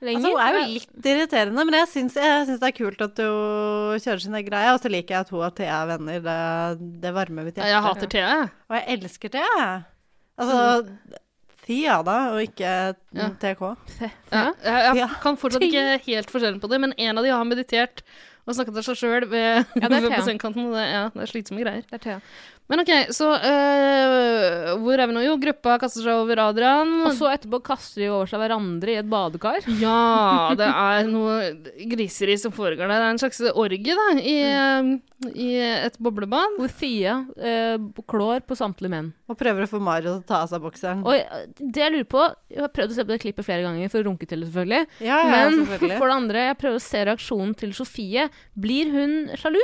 Speaker 1: lenger.
Speaker 3: Altså, hun er jo litt irriterende, men jeg syns, jeg syns det er kult at hun kjører sine greier. Og så liker jeg at hun og Thea er venner. Det, det varmer mitt
Speaker 2: Ja,
Speaker 3: hjerte.
Speaker 2: Jeg hater Thea, jeg.
Speaker 3: Og jeg elsker Thea. jeg.
Speaker 1: Mm.
Speaker 3: Altså Thea, da, og ikke
Speaker 2: Ja.
Speaker 3: TK.
Speaker 2: Ja, jeg, jeg
Speaker 3: Ja.
Speaker 2: kan fortsatt ikke helt forskjellen på det, men en av de har meditert og snakket til seg sjøl ved,
Speaker 1: Ja, det er
Speaker 2: ved
Speaker 1: Thea.
Speaker 2: bassengkanten. og Det, ja, det er slitsomme greier.
Speaker 1: Det er Thea.
Speaker 2: Men OK, så øh, hvor er vi nå? Jo, gruppa kaster seg over Adrian.
Speaker 1: Og så etterpå kaster de over seg hverandre i et badekar.
Speaker 2: Ja, det er noe griseri som foregår der. Det er en slags orgie, da, i,
Speaker 1: Mm.
Speaker 2: øh, i et boblebad.
Speaker 1: Hvor Thea eh, klår på samtlige menn.
Speaker 3: Og prøver å få Mario til å ta av seg bokseren.
Speaker 1: Og jeg- det jeg lurer på Jeg har prøvd å se på det klippet flere ganger for å runke til det, selvfølgelig.
Speaker 3: Ja, ja,
Speaker 1: Men for
Speaker 3: selvfølgelig.
Speaker 1: det andre, jeg prøver å se reaksjonen til Sofie. Blir hun sjalu?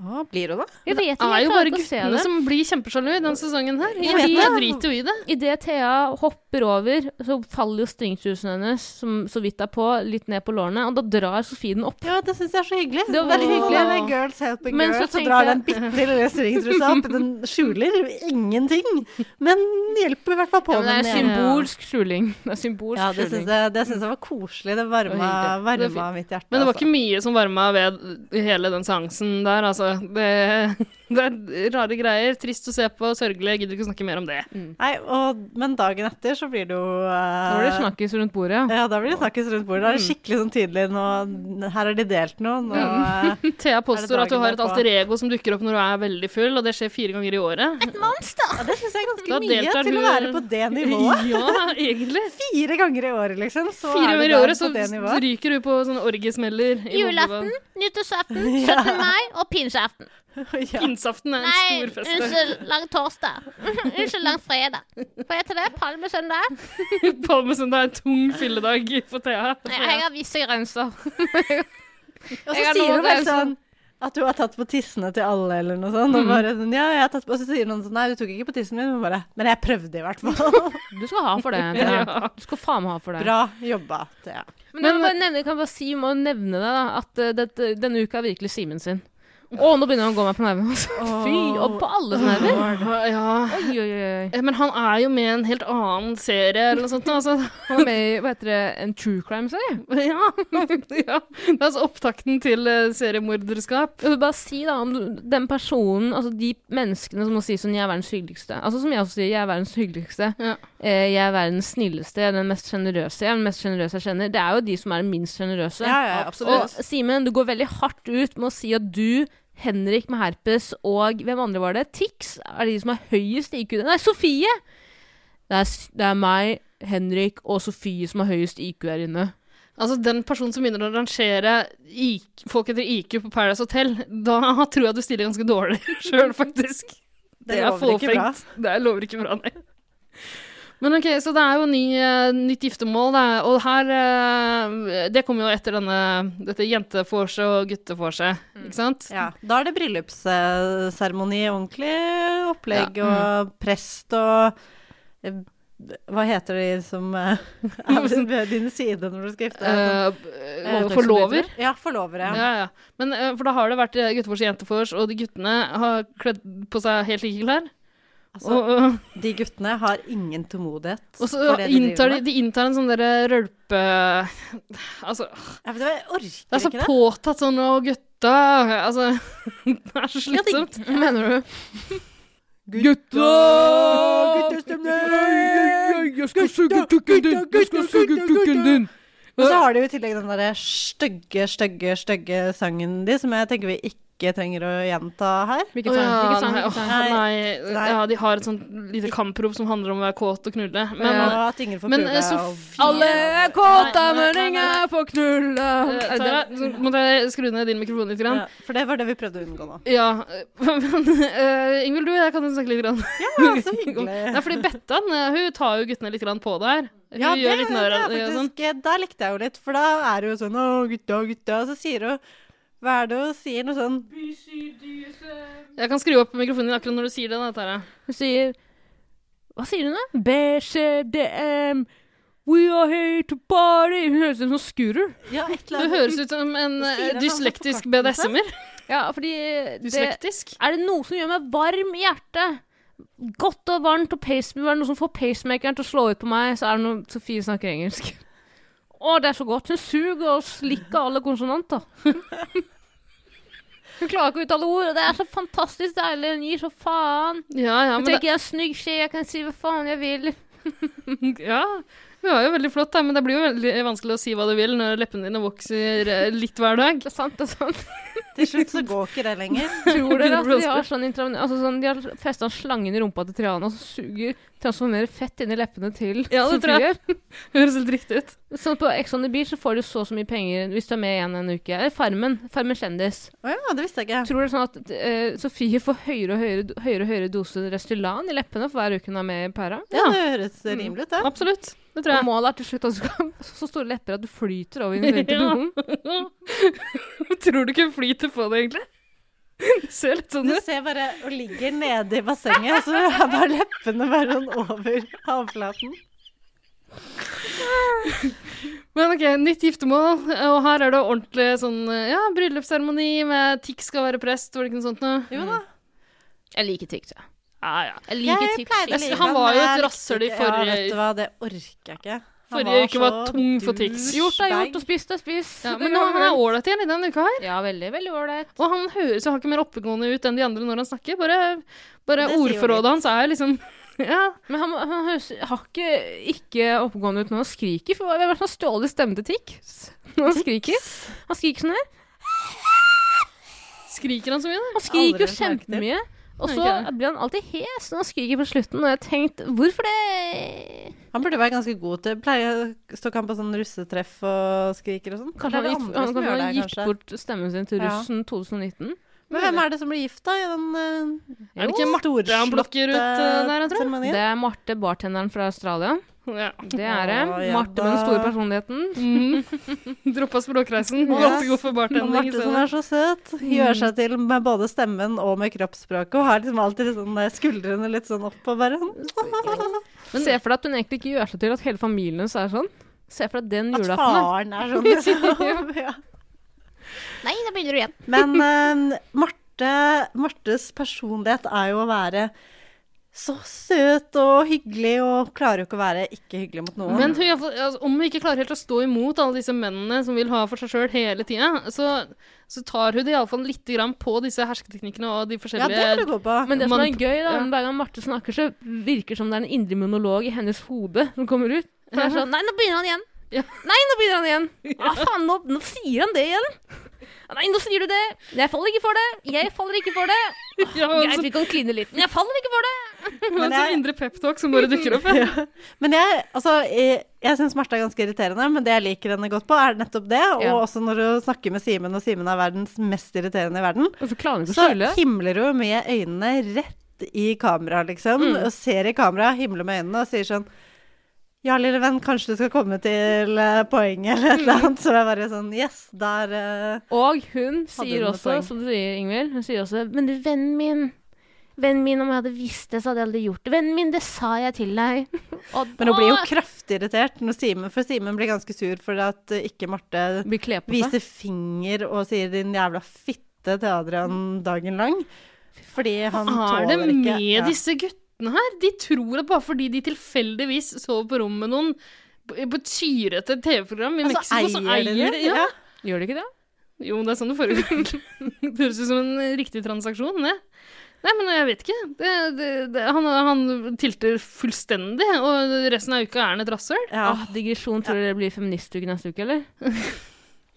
Speaker 3: Å, blir hun det?
Speaker 1: Jeg vet
Speaker 2: Det
Speaker 1: ikke,
Speaker 2: er
Speaker 1: jeg
Speaker 2: jo
Speaker 1: klarer
Speaker 2: bare
Speaker 1: ikke å se
Speaker 2: guttene
Speaker 1: det.
Speaker 2: som blir kjempesjalu i den sesongen her.
Speaker 1: Jeg
Speaker 2: Jeg,
Speaker 1: vet
Speaker 2: jeg
Speaker 1: det.
Speaker 2: driter jo i det.
Speaker 1: Idet Thea hopper over, så faller jo stringtrusen hennes, som så vidt er på, litt ned på lårene, og da drar Sofie den opp.
Speaker 3: Ja, det syns jeg er så hyggelig.
Speaker 1: Det var
Speaker 3: Veldig
Speaker 1: veldig
Speaker 3: hyggelig
Speaker 2: hyggelig.
Speaker 3: med girls helping
Speaker 1: Men
Speaker 3: girls,
Speaker 1: så
Speaker 3: så
Speaker 1: tenkte
Speaker 3: drar
Speaker 1: jeg-
Speaker 3: den bitte lille stringtrusa opp. Den skjuler ingenting, men hjelper i hvert fall på
Speaker 1: Ja, men det er
Speaker 3: med den ene.
Speaker 1: symbolsk skjuling. Det er symbolsk
Speaker 3: Ja, det syns
Speaker 1: skjuling.
Speaker 3: jeg, det syns jeg var koselig. Det varma,
Speaker 2: Det var hyggelig. Det var
Speaker 3: varma mitt hjerte.
Speaker 2: Men det var
Speaker 3: altså.
Speaker 2: ikke mye som varma ved hele den seansen der, altså. Det, det er rare greier. Trist å se på, sørgelig. Jeg gidder ikke å snakke mer om det.
Speaker 3: Nei, og, men dagen etter så blir det jo eh,
Speaker 1: Nå var det snakkes rundt bordet.
Speaker 3: Ja, da blir det snakkes rundt bordet. Da er
Speaker 2: Mm.
Speaker 3: det skikkelig sånn tydelig nå Her har de delt noe. Nå, eh,
Speaker 2: Mm. Thea påstår at
Speaker 3: dagen
Speaker 2: hun har et
Speaker 3: derpå?
Speaker 2: alter ego som dukker opp når hun er veldig full, og det skjer fire ganger i året.
Speaker 3: ja, det syns jeg er ganske
Speaker 2: Da
Speaker 3: mye
Speaker 2: deltar
Speaker 3: til å
Speaker 2: hun-
Speaker 3: være på det nivået.
Speaker 2: Ja, egentlig.
Speaker 3: Fire ganger i året, liksom. Så
Speaker 2: Fire
Speaker 3: er du
Speaker 2: ganger i
Speaker 3: der
Speaker 2: året så
Speaker 3: på det nivået.
Speaker 2: ryker hun på sånne orgiesmeller. i
Speaker 9: Julaften,
Speaker 2: Moldova.
Speaker 9: nyttårsaften, 17. mai og pinseaften.
Speaker 3: Ja.
Speaker 2: Pinseaften er en
Speaker 9: Nei, altså-
Speaker 2: stor fest. der.
Speaker 9: unnskyld, langtorsdag. Unnskyld, langfredag. Får jeg til det? Palmesøndag?
Speaker 2: Palmesøndag sånn, er en tung fylledag for Thea.
Speaker 9: Nei, jeg har visse grenser.
Speaker 1: Jeg
Speaker 3: Og så
Speaker 1: har
Speaker 3: sier
Speaker 1: noe
Speaker 3: hun bare
Speaker 1: det er
Speaker 3: sånn at hun har tatt på tissene til alle, eller noe sånt.
Speaker 2: Mm.
Speaker 3: Og, bare, sånn, ja, jeg har tatt på. og så sier noen sånn Nei, du tok ikke på tissen min. Men bare Men jeg prøvde, i hvert fall.
Speaker 1: Du skal ha for det. Thea. Du skal faen meg ha for det.
Speaker 3: Bra jobba, Thea.
Speaker 1: Men, jeg må bare nevne, jeg kan bare si, jeg må nevne det, da, at eh, dette, denne uka er virkelig Simen sin. Å, nå begynner han å gå meg på nervene. altså. Fy, og på alles nerver.
Speaker 2: Ja.
Speaker 1: Oi, oi, oi. oi.
Speaker 2: Eh, Men han er jo med i en helt annen serie eller noe sånt. nå, Altså,
Speaker 1: Han er med i hva heter det, en true crime-serie.
Speaker 2: ja. ja. Det er altså opptakten til eh, seriemorderskap.
Speaker 1: Jeg vil bare si da, om den personen, altså de menneskene som må si sånn 'jeg er verdens hyggeligste'. Altså Som jeg også sier, 'jeg er verdens hyggeligste'.
Speaker 2: Ja.
Speaker 1: Eh, 'Jeg er verdens snilleste', 'den mest sjenerøse'. 'Jeg er den mest sjenerøse jeg kjenner'. Det er jo de som er minst sjenerøse.
Speaker 3: Ja, ja,
Speaker 1: Og
Speaker 3: absolutt.
Speaker 1: Simen, du går veldig hardt ut med å si at du, Henrik med herpes og hvem andre var det? Tix er de som har høyest IQ. Nei, Sofie! Det er, s- det er meg, Henrik og Sofie som har høyest IQ her inne.
Speaker 2: Altså, den personen som begynner å rangere IQ, folk etter IQ på Paradise Hotel, da tror jeg du stiller ganske dårlig sjøl, faktisk.
Speaker 3: Det lover ikke bra.
Speaker 2: Det er- lover ikke bra, nei. Men ok, så det er jo ny, eh, nytt giftermål, da. og her eh, Det kommer jo etter denne, dette jente-vorset og gutte-vorset, ikke sant?
Speaker 3: Mm. Ja. Da er det bryllupsseremoni, ordentlig opplegg og prest og eh, Hva heter de som eh, er ved din side når du skal gifte deg?
Speaker 2: Eh,
Speaker 3: Sånn, eh,
Speaker 2: og forlover.
Speaker 3: Ja, forlovere.
Speaker 2: Ja, ja. Men, eh, for da har det vært eh, guttefors og jentefors, og de guttene har kledd på seg helt like klær.
Speaker 3: Altså,
Speaker 2: og, eh,
Speaker 3: De guttene har ingen tålmodighet
Speaker 2: og så
Speaker 3: for det de
Speaker 2: inntar de,
Speaker 3: driver med.
Speaker 2: de inntar en sånn derre rølpe... Altså,
Speaker 3: Ja, men Jeg orker
Speaker 2: det er så
Speaker 3: ikke det.
Speaker 2: påtatt sånn Å, gutta Altså, det er så slitsomt.
Speaker 1: Hva mener du?
Speaker 3: Gutta!
Speaker 1: Jeg skal suge kukken din! Jeg skal suge kukken din!
Speaker 3: Og så har de jo i tillegg den derre stygge, stygge, stygge sangen de, som jeg tenker vi ikke trenger å gjenta her.
Speaker 1: Hvilken sang? Hvilken sang?
Speaker 2: nei,
Speaker 1: Hvilken sang?
Speaker 2: åh, nei,
Speaker 3: Nei.
Speaker 2: Ja, de har et sånt lite kamprop som handler om å være kåt og knulle. Men,
Speaker 3: Men, og at ingen får
Speaker 2: men
Speaker 3: prøve
Speaker 2: eh,
Speaker 3: å-
Speaker 2: Sofie
Speaker 1: Alle er kåte,
Speaker 2: Nei, nei,
Speaker 1: men
Speaker 2: nei, nei.
Speaker 1: ingen er på knulla.
Speaker 2: eh, Tara, så må jeg skru ned din mikrofon litt. Grann.
Speaker 3: ja, For det var det vi prøvde å unngå nå.
Speaker 2: Ja. eh, Men eh, Ingvild, du og jeg kan jo snakke litt. Grann.
Speaker 3: Ja, så
Speaker 2: Nei,
Speaker 3: hyggelig.
Speaker 2: fordi Bettan eh, hun tar jo guttene litt grann på det her. Hun
Speaker 3: Ja, det,
Speaker 2: gjør litt narr
Speaker 3: det
Speaker 2: av
Speaker 3: er
Speaker 2: det. og Sånn.
Speaker 3: faktisk, Der likte jeg jo litt, for da er det jo sånn Å, gutta, gutta. Og så sier hun Hva er det hun sier? Noe sånn
Speaker 2: Jeg kan skru opp mikrofonen din akkurat når du sier det. Da, Tara.
Speaker 1: Hun sier Hva sier hun, da? BCDM. We are here to party. Hun høres ut som en skurer.
Speaker 3: Ja, et
Speaker 2: Du
Speaker 3: eller annet.
Speaker 2: høres ut som en
Speaker 3: Hva sier
Speaker 2: eh,
Speaker 3: han?
Speaker 2: dyslektisk
Speaker 3: Han får forkortelse.
Speaker 2: BDSM-er.
Speaker 1: Ja, fordi det,
Speaker 2: Dyslektisk?
Speaker 1: Er det noe som gjør meg varm i hjertet? Godt og varmt og pacemaker, noe som får pacemakeren til å slå ut på meg, så er det når Sofie snakker engelsk. Å, det er så godt. Hun suger og slikker alle konsonanter. Hun klarer ikke å uttale ord, og det er så fantastisk deilig. Hun gir så faen.
Speaker 2: Ja,
Speaker 1: Hun
Speaker 2: ja, men det,
Speaker 1: tenker jeg er en snygg skje, jeg kan si hva faen jeg vil.
Speaker 2: ja. Hun er jo veldig flott, da, men det blir jo veldig vanskelig å si hva du vil når leppene dine vokser eh, litt hver dag.
Speaker 1: Det er sant, det er sant.
Speaker 3: Til slutt så går ikke det lenger.
Speaker 1: Tror dere at de har sånn intravenø- altså sånn, de har festa slangen i rumpa til Triana, som suger, transformerer fett inn i leppene til
Speaker 2: Ja, det tror jeg. Høres helt riktig ut.
Speaker 1: Sånn på Ex on the Beach så får du så og så mye penger hvis du er med igjen en uke. Eller Farmen. Farmen kjendis.
Speaker 3: Å ja, det visste jeg ikke.
Speaker 1: Tror du det er sånn at eh, Sofie får høyere og høyere, høyere, og høyere dose Restylan i leppene for hver uke hun er med i pæra?
Speaker 3: Ja, det høres rimelig ut, det.
Speaker 2: Absolutt. Det tror
Speaker 1: Og
Speaker 2: jeg.
Speaker 1: målet er til slutt at du skal ha så store lepper at du flyter over i den vente
Speaker 2: Ja.
Speaker 1: doen.
Speaker 2: Tror du ikke hun flyter på det, egentlig? Det ser litt sånn
Speaker 3: Du
Speaker 2: ut.
Speaker 3: ser bare og ligger nede i bassenget, så er bare leppene bare sånn over havflaten.
Speaker 2: Men ok, nytt giftermål, og her er det ordentlig sånn ja, bryllupsseremoni med Tix skal være prest, var det ikke noe sånt noe?
Speaker 3: Jo da.
Speaker 1: Jeg liker Tix, jeg.
Speaker 2: Ja, ja.
Speaker 1: Jeg liker Tix.
Speaker 2: å like
Speaker 1: skikkelig.
Speaker 2: han var
Speaker 3: men
Speaker 2: jo et
Speaker 3: jeg likte
Speaker 2: rasshøl i
Speaker 3: ikke-
Speaker 2: forrige-
Speaker 3: Ja, vet du hva, det orker jeg ikke. Han
Speaker 2: Forrige uke var
Speaker 3: så
Speaker 2: tung for tics.
Speaker 1: Gjort er gjort,
Speaker 3: douchebag.
Speaker 1: og spist er spist.
Speaker 2: ja
Speaker 1: Det
Speaker 2: men
Speaker 1: går
Speaker 2: han er
Speaker 1: vel.
Speaker 2: ålreit igjen i denne uka her.
Speaker 1: Ja, veldig, veldig ålreit.
Speaker 2: Og han høres jo hakket mer oppegående ut enn de andre når han snakker. Bare, bare
Speaker 3: Det sier jo litt.
Speaker 2: ordforrådet hans er liksom ja.
Speaker 1: Men han, han høres har ikke, ikke oppegående ut når han skriker. For hvem er det som har stjålet stemmen til Tix? Når han skriker. Han skriker sånn her.
Speaker 2: Skriker han så mye? da?
Speaker 1: Han skriker jo
Speaker 3: Aldri lagt merke til.
Speaker 1: kjempemye. Og
Speaker 2: Nei,
Speaker 1: så
Speaker 2: ikke det.
Speaker 1: blir han alltid hes når han skriker på slutten. Og jeg har tenkt Hvorfor det?
Speaker 3: Han burde være ganske god til Pleier å stå kamp på sånn russetreff og skriker og sånn.
Speaker 1: Kanskje
Speaker 3: Eller er
Speaker 1: han,
Speaker 3: det
Speaker 1: gikk,
Speaker 3: andre
Speaker 1: han,
Speaker 3: som
Speaker 1: kanskje
Speaker 3: gjør
Speaker 1: han
Speaker 3: det,
Speaker 1: gikk
Speaker 3: kanskje?
Speaker 1: bort stemmen sin til
Speaker 3: Ja.
Speaker 1: russen 2019?
Speaker 3: Men hvem er det som blir gift, da? I den eh,
Speaker 2: Er det ikke Marte han plukker ut eh, der, jeg tror?
Speaker 1: Det er Marte, bartenderen fra Australia.
Speaker 2: Ja.
Speaker 1: Det er det.
Speaker 3: Å, ja
Speaker 1: Marte med den store
Speaker 3: da.
Speaker 1: personligheten.
Speaker 2: Mm. Droppa språkreisen.
Speaker 3: Ja.
Speaker 2: Måtte gå for bartending i
Speaker 3: Marte som
Speaker 2: stedet.
Speaker 3: er så søt, gjør seg til med både stemmen og med kroppsspråket, og har liksom alltid litt sånn eh, skuldrene litt sånn opp og bare sånn
Speaker 1: Men se for deg at hun egentlig ikke gjør seg til at hele familien hennes er sånn. Se for deg den
Speaker 3: At
Speaker 1: julaften.
Speaker 3: faren er sånn, liksom. ja.
Speaker 9: Nei, da begynner du igjen.
Speaker 3: Men eh, Marte, Martes personlighet er jo å være så søt og hyggelig, og klarer jo ikke å være ikke hyggelig mot noen.
Speaker 2: Men hun, i alle fall- altså, om hun ikke klarer helt å stå imot alle disse mennene som vil ha for seg sjøl hele tida, så, så tar hun det iallfall litt grann på disse hersketeknikkene og de
Speaker 3: ja,
Speaker 2: forskjellige
Speaker 3: det vil du gå på.
Speaker 1: Men det som er
Speaker 2: Manip-
Speaker 1: gøy, da,
Speaker 2: Ja.
Speaker 1: hver gang Marte snakker, så virker det som det er en indre monolog i hennes hode som kommer ut. For det er sånn Nei, nå begynner han igjen!
Speaker 2: Ja.
Speaker 1: Nei, nå begynner han igjen! Ah, faen, nå, nå sier han det igjen! Nei, nå sier du det! Jeg faller ikke for det! Jeg faller ikke for det!
Speaker 2: ja,
Speaker 1: Greit,
Speaker 2: altså,
Speaker 1: vi kan kline litt, men jeg faller ikke for det!
Speaker 2: Men
Speaker 3: Men
Speaker 2: sånn
Speaker 3: jeg-
Speaker 2: indre peptalk som bare dukker opp. Ja.
Speaker 3: Men jeg, altså, jeg, jeg syns Marte er ganske irriterende, men det jeg liker henne godt på, er nettopp det. Og
Speaker 1: Ja.
Speaker 3: også når hun snakker med Simen, og Simen er verdens mest irriterende i verden,
Speaker 1: Og så klarer han ikke å
Speaker 3: så
Speaker 1: skjule.
Speaker 3: himler hun med øynene rett i kamera, liksom.
Speaker 2: Mm.
Speaker 3: Og ser i kamera, himler med øynene og sier sånn ja, lille venn, kanskje du skal komme til eh, poenget eller et eller annet. Så jeg bare sånn Yes, der eh,
Speaker 1: Og hun
Speaker 3: hun
Speaker 1: sier
Speaker 3: noe
Speaker 1: også,
Speaker 3: poeng?
Speaker 1: som du sier, Ingvild, hun sier også Men du, vennen min Vennen min, om jeg hadde visst det, så hadde jeg aldri gjort det. Vennen min, det sa jeg til deg. Og
Speaker 3: Men hun blir jo
Speaker 2: Ah.
Speaker 1: da
Speaker 3: kraftig irritert når Simen For Simen blir ganske sur for at eh, ikke Marte
Speaker 1: blir kledd på seg.
Speaker 3: viser finger og sier 'din jævla fitte' til Adrian dagen lang. Fordi han
Speaker 2: Er det
Speaker 3: tåler
Speaker 2: med
Speaker 3: ikke ja.
Speaker 2: disse guttene her? De tror at bare fordi de tilfeldigvis sover på rom med noen på på et syrete TV-program i
Speaker 3: Altså,
Speaker 2: Mexico, så
Speaker 3: eier de
Speaker 2: eier
Speaker 3: det?
Speaker 2: de ja.
Speaker 3: Ja.
Speaker 1: Gjør det ikke det?
Speaker 2: Jo, det er sånn det foregår. det høres ut som en riktig transaksjon, det. Nei, men jeg vet ikke. Det, det, det, han, han tilter fullstendig, og resten av uka er han et rasshøl.
Speaker 3: Ja.
Speaker 1: Ah, digresjon. Tror du det blir feministuke neste uke, eller?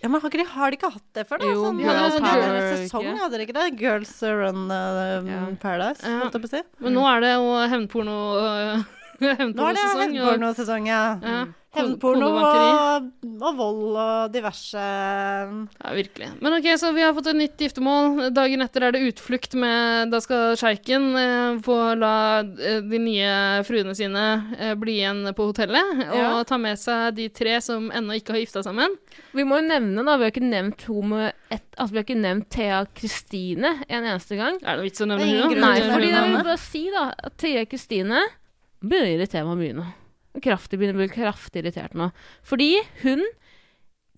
Speaker 3: ja, men har, ikke de, har de ikke hatt det før, da?
Speaker 1: Jo,
Speaker 3: sånn,
Speaker 1: Girl
Speaker 3: eh, sånn
Speaker 1: Power,
Speaker 3: generell sesong,
Speaker 1: ikke?
Speaker 3: hadde de ikke det? Girls Run eh,
Speaker 1: Ja.
Speaker 3: Paradise,
Speaker 2: Ja.
Speaker 3: holdt jeg på å si.
Speaker 2: Men nå er det jo hevnporno øh,
Speaker 3: Nå er det
Speaker 2: hevnpornosesong. og-
Speaker 3: hevnpornosesong, ja.
Speaker 2: Ja,
Speaker 3: Hevnporno
Speaker 2: kodebankeri.
Speaker 3: og, og vold og diverse eh,
Speaker 2: Ja, virkelig. Men ok, så vi har fått et nytt giftermål. Dagen etter er det utflukt med Da skal sjeiken eh, få la eh, de nye fruene sine eh, bli igjen på hotellet,
Speaker 3: Ja.
Speaker 2: og ta med seg de tre som ennå ikke har gifta sammen.
Speaker 1: Vi må jo nevne, da. Vi har ikke nevnt hun med ett Altså, vi har ikke nevnt Thea Kristine en eneste gang.
Speaker 2: Er det noe vits å nevne
Speaker 3: Det er ingen
Speaker 2: henne?
Speaker 3: grunn
Speaker 1: Nei,
Speaker 3: til å
Speaker 1: fordi
Speaker 3: nevne
Speaker 1: jeg vil
Speaker 3: henne.
Speaker 1: bare si, da, at Thea Kristine begynner å irritere meg mye nå. Kraftig, begynner å bli kraftig irritert nå. Fordi hun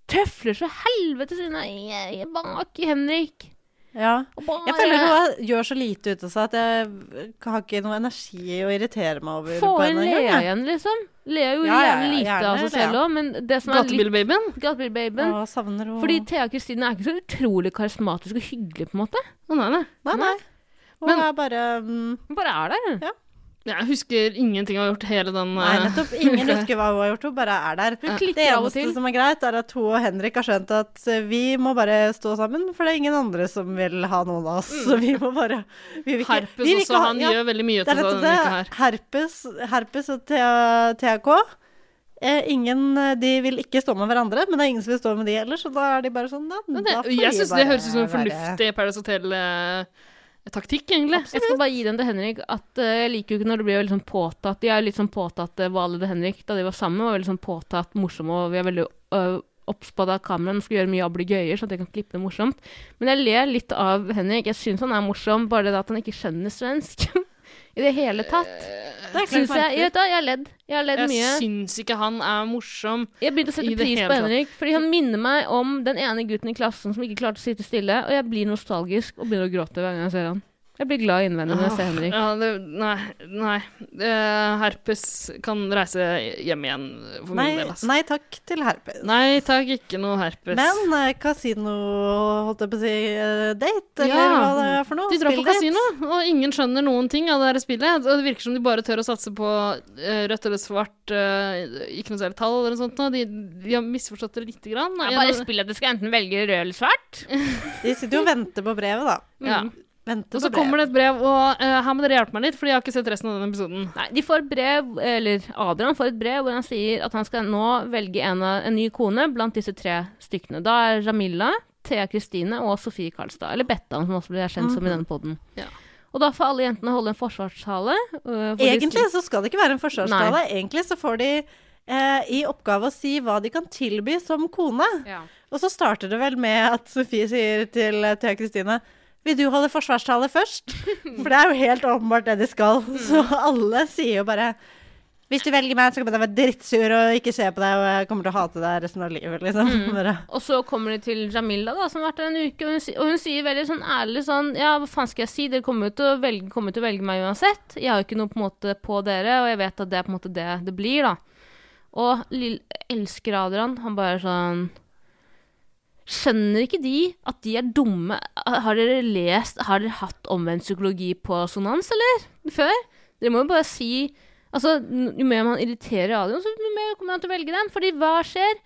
Speaker 1: tøfler så helvetes unna Jeg er bak i Henrik.
Speaker 3: Ja.
Speaker 1: Og bare
Speaker 3: Jeg føler hun gjør så lite ut av seg at jeg har ikke noe energi å irritere meg over.
Speaker 1: Få
Speaker 3: på
Speaker 1: inn
Speaker 3: henne engang,
Speaker 1: Lea
Speaker 3: jeg.
Speaker 1: igjen, liksom. Lea gjorde
Speaker 3: Ja, ja, ja,
Speaker 1: gjerne lite
Speaker 3: gjerne
Speaker 1: av seg
Speaker 3: Lea.
Speaker 1: selv òg, men det som er litt
Speaker 2: Gatebilbabyen?
Speaker 1: Gatebilbabyen
Speaker 3: Å, savner hun
Speaker 1: Fordi Thea Kristine er ikke så utrolig karismatisk og hyggelig, på en måte.
Speaker 2: Å, nei, nei.
Speaker 3: Nei, nei. Hun
Speaker 2: Men-
Speaker 3: er bare mm,
Speaker 1: Hun bare er der.
Speaker 2: Jeg husker ingenting jeg har gjort hele den
Speaker 3: Nei,
Speaker 2: eh,
Speaker 3: nettopp. Ingen husker hva hun har gjort. Hun bare er der.
Speaker 1: Hun klikker
Speaker 3: Det
Speaker 1: av og
Speaker 3: eneste
Speaker 1: til.
Speaker 3: som er greit, er at hun og Henrik har skjønt at eh, vi må bare stå sammen, for det er ingen andre som vil ha noen av oss. Så vi må bare vi vil ikke-
Speaker 2: Mm. herpes
Speaker 3: vi vil ikke
Speaker 2: også.
Speaker 3: ha-
Speaker 2: Han
Speaker 3: ja,
Speaker 2: gjør veldig mye ut
Speaker 3: det er
Speaker 2: av
Speaker 3: nettopp
Speaker 2: denne uka
Speaker 3: det.
Speaker 2: her.
Speaker 3: Herpes, herpes og TAK. Eh, ingen, eh, de vil ikke stå med hverandre, men det er ingen som vil stå med de heller, så da er de bare sånn ja,
Speaker 2: Men
Speaker 3: da får
Speaker 2: Det, jeg
Speaker 3: vi
Speaker 2: syns det
Speaker 3: bare
Speaker 2: høres ut som en
Speaker 3: være-
Speaker 2: fornuftig Paradise Hotel-taktikk, egentlig.
Speaker 1: Jeg skal bare gi den til Henrik. At eh, Jeg liker jo ikke når det blir veldig sånn påtatt. De er jo litt sånn påtatt eh, Vale og Henrik da de var sammen. var veldig sånn påtatt morsomme, og vi er veldig øh, obs på at kameraet skal gjøre mye ablegøyer, sånn at jeg kan klippe det morsomt. Men jeg ler litt av Henrik. Jeg syns han er morsom, bare det at han ikke skjønner svensk i det hele tatt.
Speaker 3: Det er
Speaker 1: Synes
Speaker 3: klart
Speaker 1: jeg, jeg, vet da, jeg har ledd. Jeg har ledd mye.
Speaker 2: Jeg syns ikke han er morsom.
Speaker 1: Jeg begynte å
Speaker 2: I
Speaker 1: sette
Speaker 2: det
Speaker 1: pris
Speaker 2: hele
Speaker 1: på
Speaker 2: tatt.
Speaker 1: Henrik, fordi han minner meg om den ene gutten i klassen som ikke klarte å sitte stille, og jeg blir nostalgisk og begynner å gråte hver gang jeg ser han. Jeg blir glad innvendig når jeg ser Henrik.
Speaker 2: Ja, det, nei, nei. Eh, herpes kan reise hjem igjen for min
Speaker 3: Nei,
Speaker 2: del. Altså.
Speaker 3: nei takk til herpes.
Speaker 2: Nei takk, ikke noe herpes.
Speaker 3: Men eh, kasino, holdt jeg på å si, eh, date, eller
Speaker 2: Ja,
Speaker 3: hva det er for noe?
Speaker 2: de drar på
Speaker 3: spilldate.
Speaker 2: kasino, og ingen skjønner noen ting av det her spillet. Og det virker som de bare tør å satse på eh, rødt eller svart, eh, ikke noe særlig tall eller noe sånt. nå. De, de har misforstått det lite grann.
Speaker 1: Jeg
Speaker 2: En
Speaker 1: bare
Speaker 2: av-
Speaker 1: spiller at du skal enten velge rød eller svart.
Speaker 3: De sitter jo og venter på brevet, da.
Speaker 2: ja.
Speaker 3: Venter
Speaker 2: Og så
Speaker 3: på
Speaker 2: kommer
Speaker 3: brevet.
Speaker 2: det et brev, og eh, her må dere hjelpe meg litt, Fordi jeg har ikke sett resten av den episoden.
Speaker 1: Nei, de får et brev, eller Adrian får et brev hvor han sier at han skal nå velge en, av, en ny kone blant disse tre stykkene. Da er Jamila, Thea Kristine og Sofie Karlstad, eller Bettan, som også blir kjent som i denne podden.
Speaker 2: Ja.
Speaker 1: Og da får alle jentene holde en forsvarstale. øh, hvor de-
Speaker 3: Egentlig så skal det ikke være en forsvarstale. Egentlig så får de eh, i oppgave å si hva de kan tilby som kone.
Speaker 1: Ja.
Speaker 3: Og så starter det vel med at Sofie sier til eh, Thea Kristine vil du holde forsvarstale først? For det er jo helt åpenbart det de skal.
Speaker 1: Mm.
Speaker 3: Så alle sier jo bare Hvis du velger meg, så kommer jeg til å være drittsur og ikke se på deg, og jeg kommer til å hate deg resten av livet, liksom.
Speaker 1: Mm.
Speaker 3: Bare.
Speaker 1: Og så kommer de til Jamila, da, som har vært der en uke, og hun, si- og hun sier veldig sånn ærlig sånn Ja, hva faen skal jeg si? Dere kommer jo til å velge, kommer til å velge meg uansett. Jeg har jo ikke noe på en måte på dere, og jeg vet at det er på en måte det det blir, da. Og Lill elsker Adrian. Han bare sånn Skjønner ikke de at de er dumme? Har dere lest Har dere hatt omvendt psykologi på sonans, eller? Før? Dere må jo bare si Altså, n- jo mer man irriterer Adrian, så jo mer kommer han til å velge dem. Fordi hva skjer?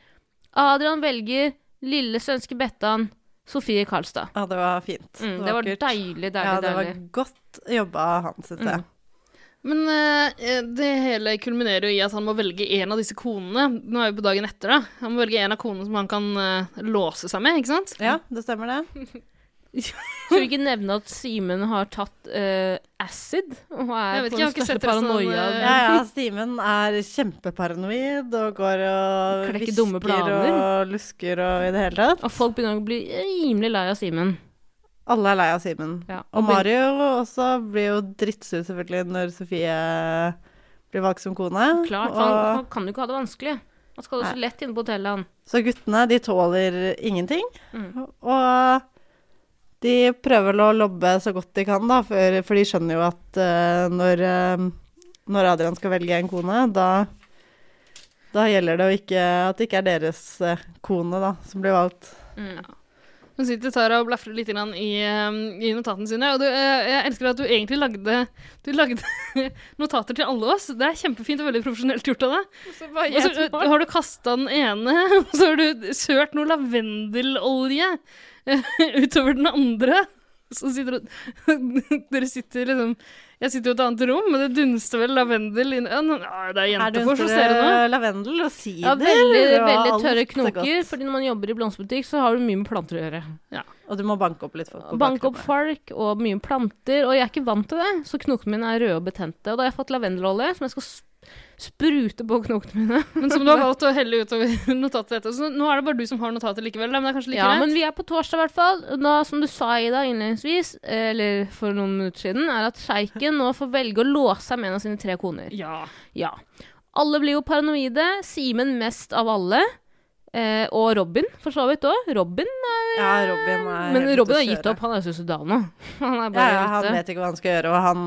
Speaker 1: Adrian velger lille svenske Bettan Sofie Karlstad.
Speaker 3: Ja, det var fint.
Speaker 1: Mm, det var
Speaker 3: kult.
Speaker 1: deilig, deilig,
Speaker 3: Ja, det var
Speaker 1: deilig. Mm.
Speaker 3: godt jobba av han, syns jeg.
Speaker 2: Men eh, det hele kulminerer jo i at han må velge en av disse konene. Nå er vi på dagen etter, da. Han må velge en av konene som han kan eh, låse seg med, ikke sant?
Speaker 3: Ja, det stemmer det.
Speaker 1: Skal vi ikke nevne at Simen har tatt eh, acid? Og er
Speaker 2: Jeg vet
Speaker 1: på
Speaker 2: ikke, jeg har
Speaker 1: den største
Speaker 2: ikke sett resten av den,
Speaker 1: paranoia.
Speaker 2: eh,
Speaker 3: Ja, ja, Simen er kjempeparanoid og går og
Speaker 1: Klekker dumme
Speaker 3: hvisker
Speaker 1: planer.
Speaker 3: og lusker og i det hele tatt.
Speaker 1: Og folk begynner å bli rimelig lei av Simen.
Speaker 3: Alle er lei av Simen.
Speaker 1: Ja,
Speaker 3: Og
Speaker 1: og
Speaker 3: Mario også blir jo drittsur, selvfølgelig, når Sofie blir valgt som kone.
Speaker 1: Klart, for han,
Speaker 3: og,
Speaker 1: han kan jo ikke ha det vanskelig. Han skal jo så lett inn på hotellet, han.
Speaker 3: så guttene, de tåler ingenting.
Speaker 1: Mm.
Speaker 3: Og de prøver vel å lobbe så godt de kan, da, for, for de skjønner jo at eh, når, eh, når Adrian skal velge en kone, da
Speaker 2: Mm.
Speaker 3: da gjelder det å ikke, at det ikke er deres eh, kone da, som blir valgt.
Speaker 2: Hun sitter Tara og blafrer litt grann i, eh, i notatene sine. Og du, eh, jeg elsker at du egentlig lagde, du lagde notater til alle oss. Det er kjempefint og veldig profesjonelt gjort av deg. Og så ø, har du kasta den ene, og så har du sølt noe lavendelolje eh, utover den andre. Så sitter du Dere sitter liksom Jeg sitter jo i et annet rom, men det dunster vel lavendel inn Ja, nå- ja, Det er
Speaker 3: Er det
Speaker 2: jenter
Speaker 3: en
Speaker 2: for, så ser du nå.
Speaker 3: Eh, lavendel og sider?
Speaker 1: Ja, veldig,
Speaker 3: og
Speaker 1: veldig
Speaker 3: alt
Speaker 1: tørre
Speaker 3: er godt.
Speaker 1: knoker, fordi når man jobber i blomsterbutikk, så har du mye med planter å gjøre.
Speaker 3: Og du må banke opp litt folk. på
Speaker 1: Banke opp
Speaker 3: bakgrunnen.
Speaker 1: folk og mye planter, og jeg er ikke vant til det, så knokene mine er røde og betente. Og da har jeg fått lavendelolje som jeg skal sp- sprute på knokene mine.
Speaker 2: Men som du har valgt å helle utover notatet etter. Så nå er det bare du som har notater likevel, da, men det er kanskje like
Speaker 1: Ja,
Speaker 2: greit.
Speaker 1: men vi er på torsdag i hvert fall. Og Da, som du sa Ida innledningsvis, eh, eller for noen minutter siden, er at sjeiken nå får velge å låse seg med en av sine tre koner.
Speaker 2: Ja.
Speaker 1: Ja. Alle blir jo paranoide. Simen mest av alle. Eh, og Robin, for så vidt òg. Robin,
Speaker 3: Ja, Robin er
Speaker 1: men
Speaker 3: helt ute
Speaker 1: Robin
Speaker 3: å
Speaker 1: har gitt
Speaker 3: kjøre.
Speaker 1: opp. Han er jo suicidal nå. Han er
Speaker 3: Ja,
Speaker 1: bare
Speaker 3: ja, han
Speaker 1: ute.
Speaker 3: vet ikke hva han skal gjøre, og han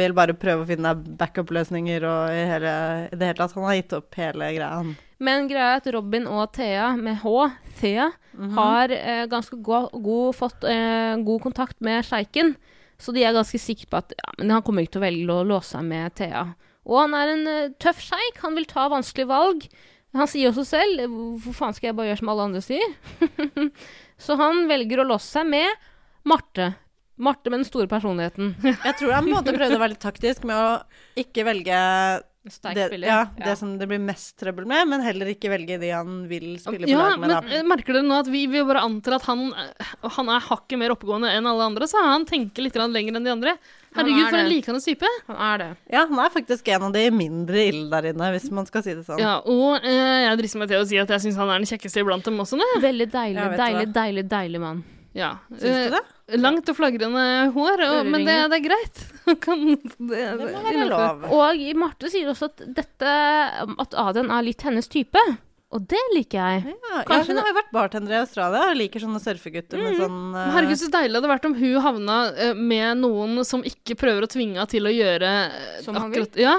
Speaker 3: vil bare prøve å finne backup-løsninger og i hele, i det hele tatt. Han har gitt opp hele greia. han.
Speaker 1: Men greia er at Robin og Thea, med H, Thea,
Speaker 3: Mhm.
Speaker 1: har eh, ganske go god, fått eh, god kontakt med sjeiken. Så de er ganske sikre på at ja, men han kommer ikke til å velge å låse seg med Thea. Og han er en eh, tøff sjeik. Han vil ta vanskelige valg. Han sier også selv Hvorfor faen skal jeg bare gjøre som alle andre sier? Så han velger å låse seg med Marte. Marte med den store personligheten.
Speaker 3: Jeg tror han på en måte prøvde å være litt taktisk med å ikke velge
Speaker 1: Sterk
Speaker 3: det,
Speaker 1: spiller.
Speaker 3: ja, det som det blir mest trøbbel med, men heller ikke velge de han vil spille på
Speaker 2: ja,
Speaker 3: lag med.
Speaker 2: men
Speaker 3: Da.
Speaker 2: eh, merker dere nå at vi, vi bare antar at han, eh, han er hakket mer oppegående enn alle andre, så han tenker litt grann lenger enn de andre.
Speaker 1: Han
Speaker 2: Herregud,
Speaker 1: er
Speaker 2: for en
Speaker 1: det.
Speaker 2: likende type.
Speaker 1: Han er det.
Speaker 3: Ja, han er faktisk en av de mindre ille der inne, hvis man skal si det sånn.
Speaker 2: Ja, og eh, jeg drister meg til å si at jeg syns han er den kjekkeste iblant dem også, ne?
Speaker 1: Veldig deilig,
Speaker 3: Ja, vet du
Speaker 1: deilig,
Speaker 3: hva.
Speaker 1: deilig, deilig mann.
Speaker 2: Ja.
Speaker 3: Syns du det?
Speaker 2: Eh, Langt og flagrende hår, og, men det,
Speaker 1: Øreringer.
Speaker 2: det er greit. Han kan, det,
Speaker 3: Det må være
Speaker 2: innenfor.
Speaker 3: lov.
Speaker 1: Og Marte sier også at, dette, at Adrian er litt hennes type. Og det liker jeg.
Speaker 3: Ja, ja,
Speaker 1: Kanskje
Speaker 3: hun
Speaker 1: det-
Speaker 3: har jo vært bartender i Australia og liker sånne surfegutter med sånn eh,
Speaker 2: Men Mm. Herregud, så deilig det hadde vært om hun havna eh, med noen som ikke prøver å tvinge henne til å gjøre eh,
Speaker 1: Som han vil.
Speaker 2: Ja.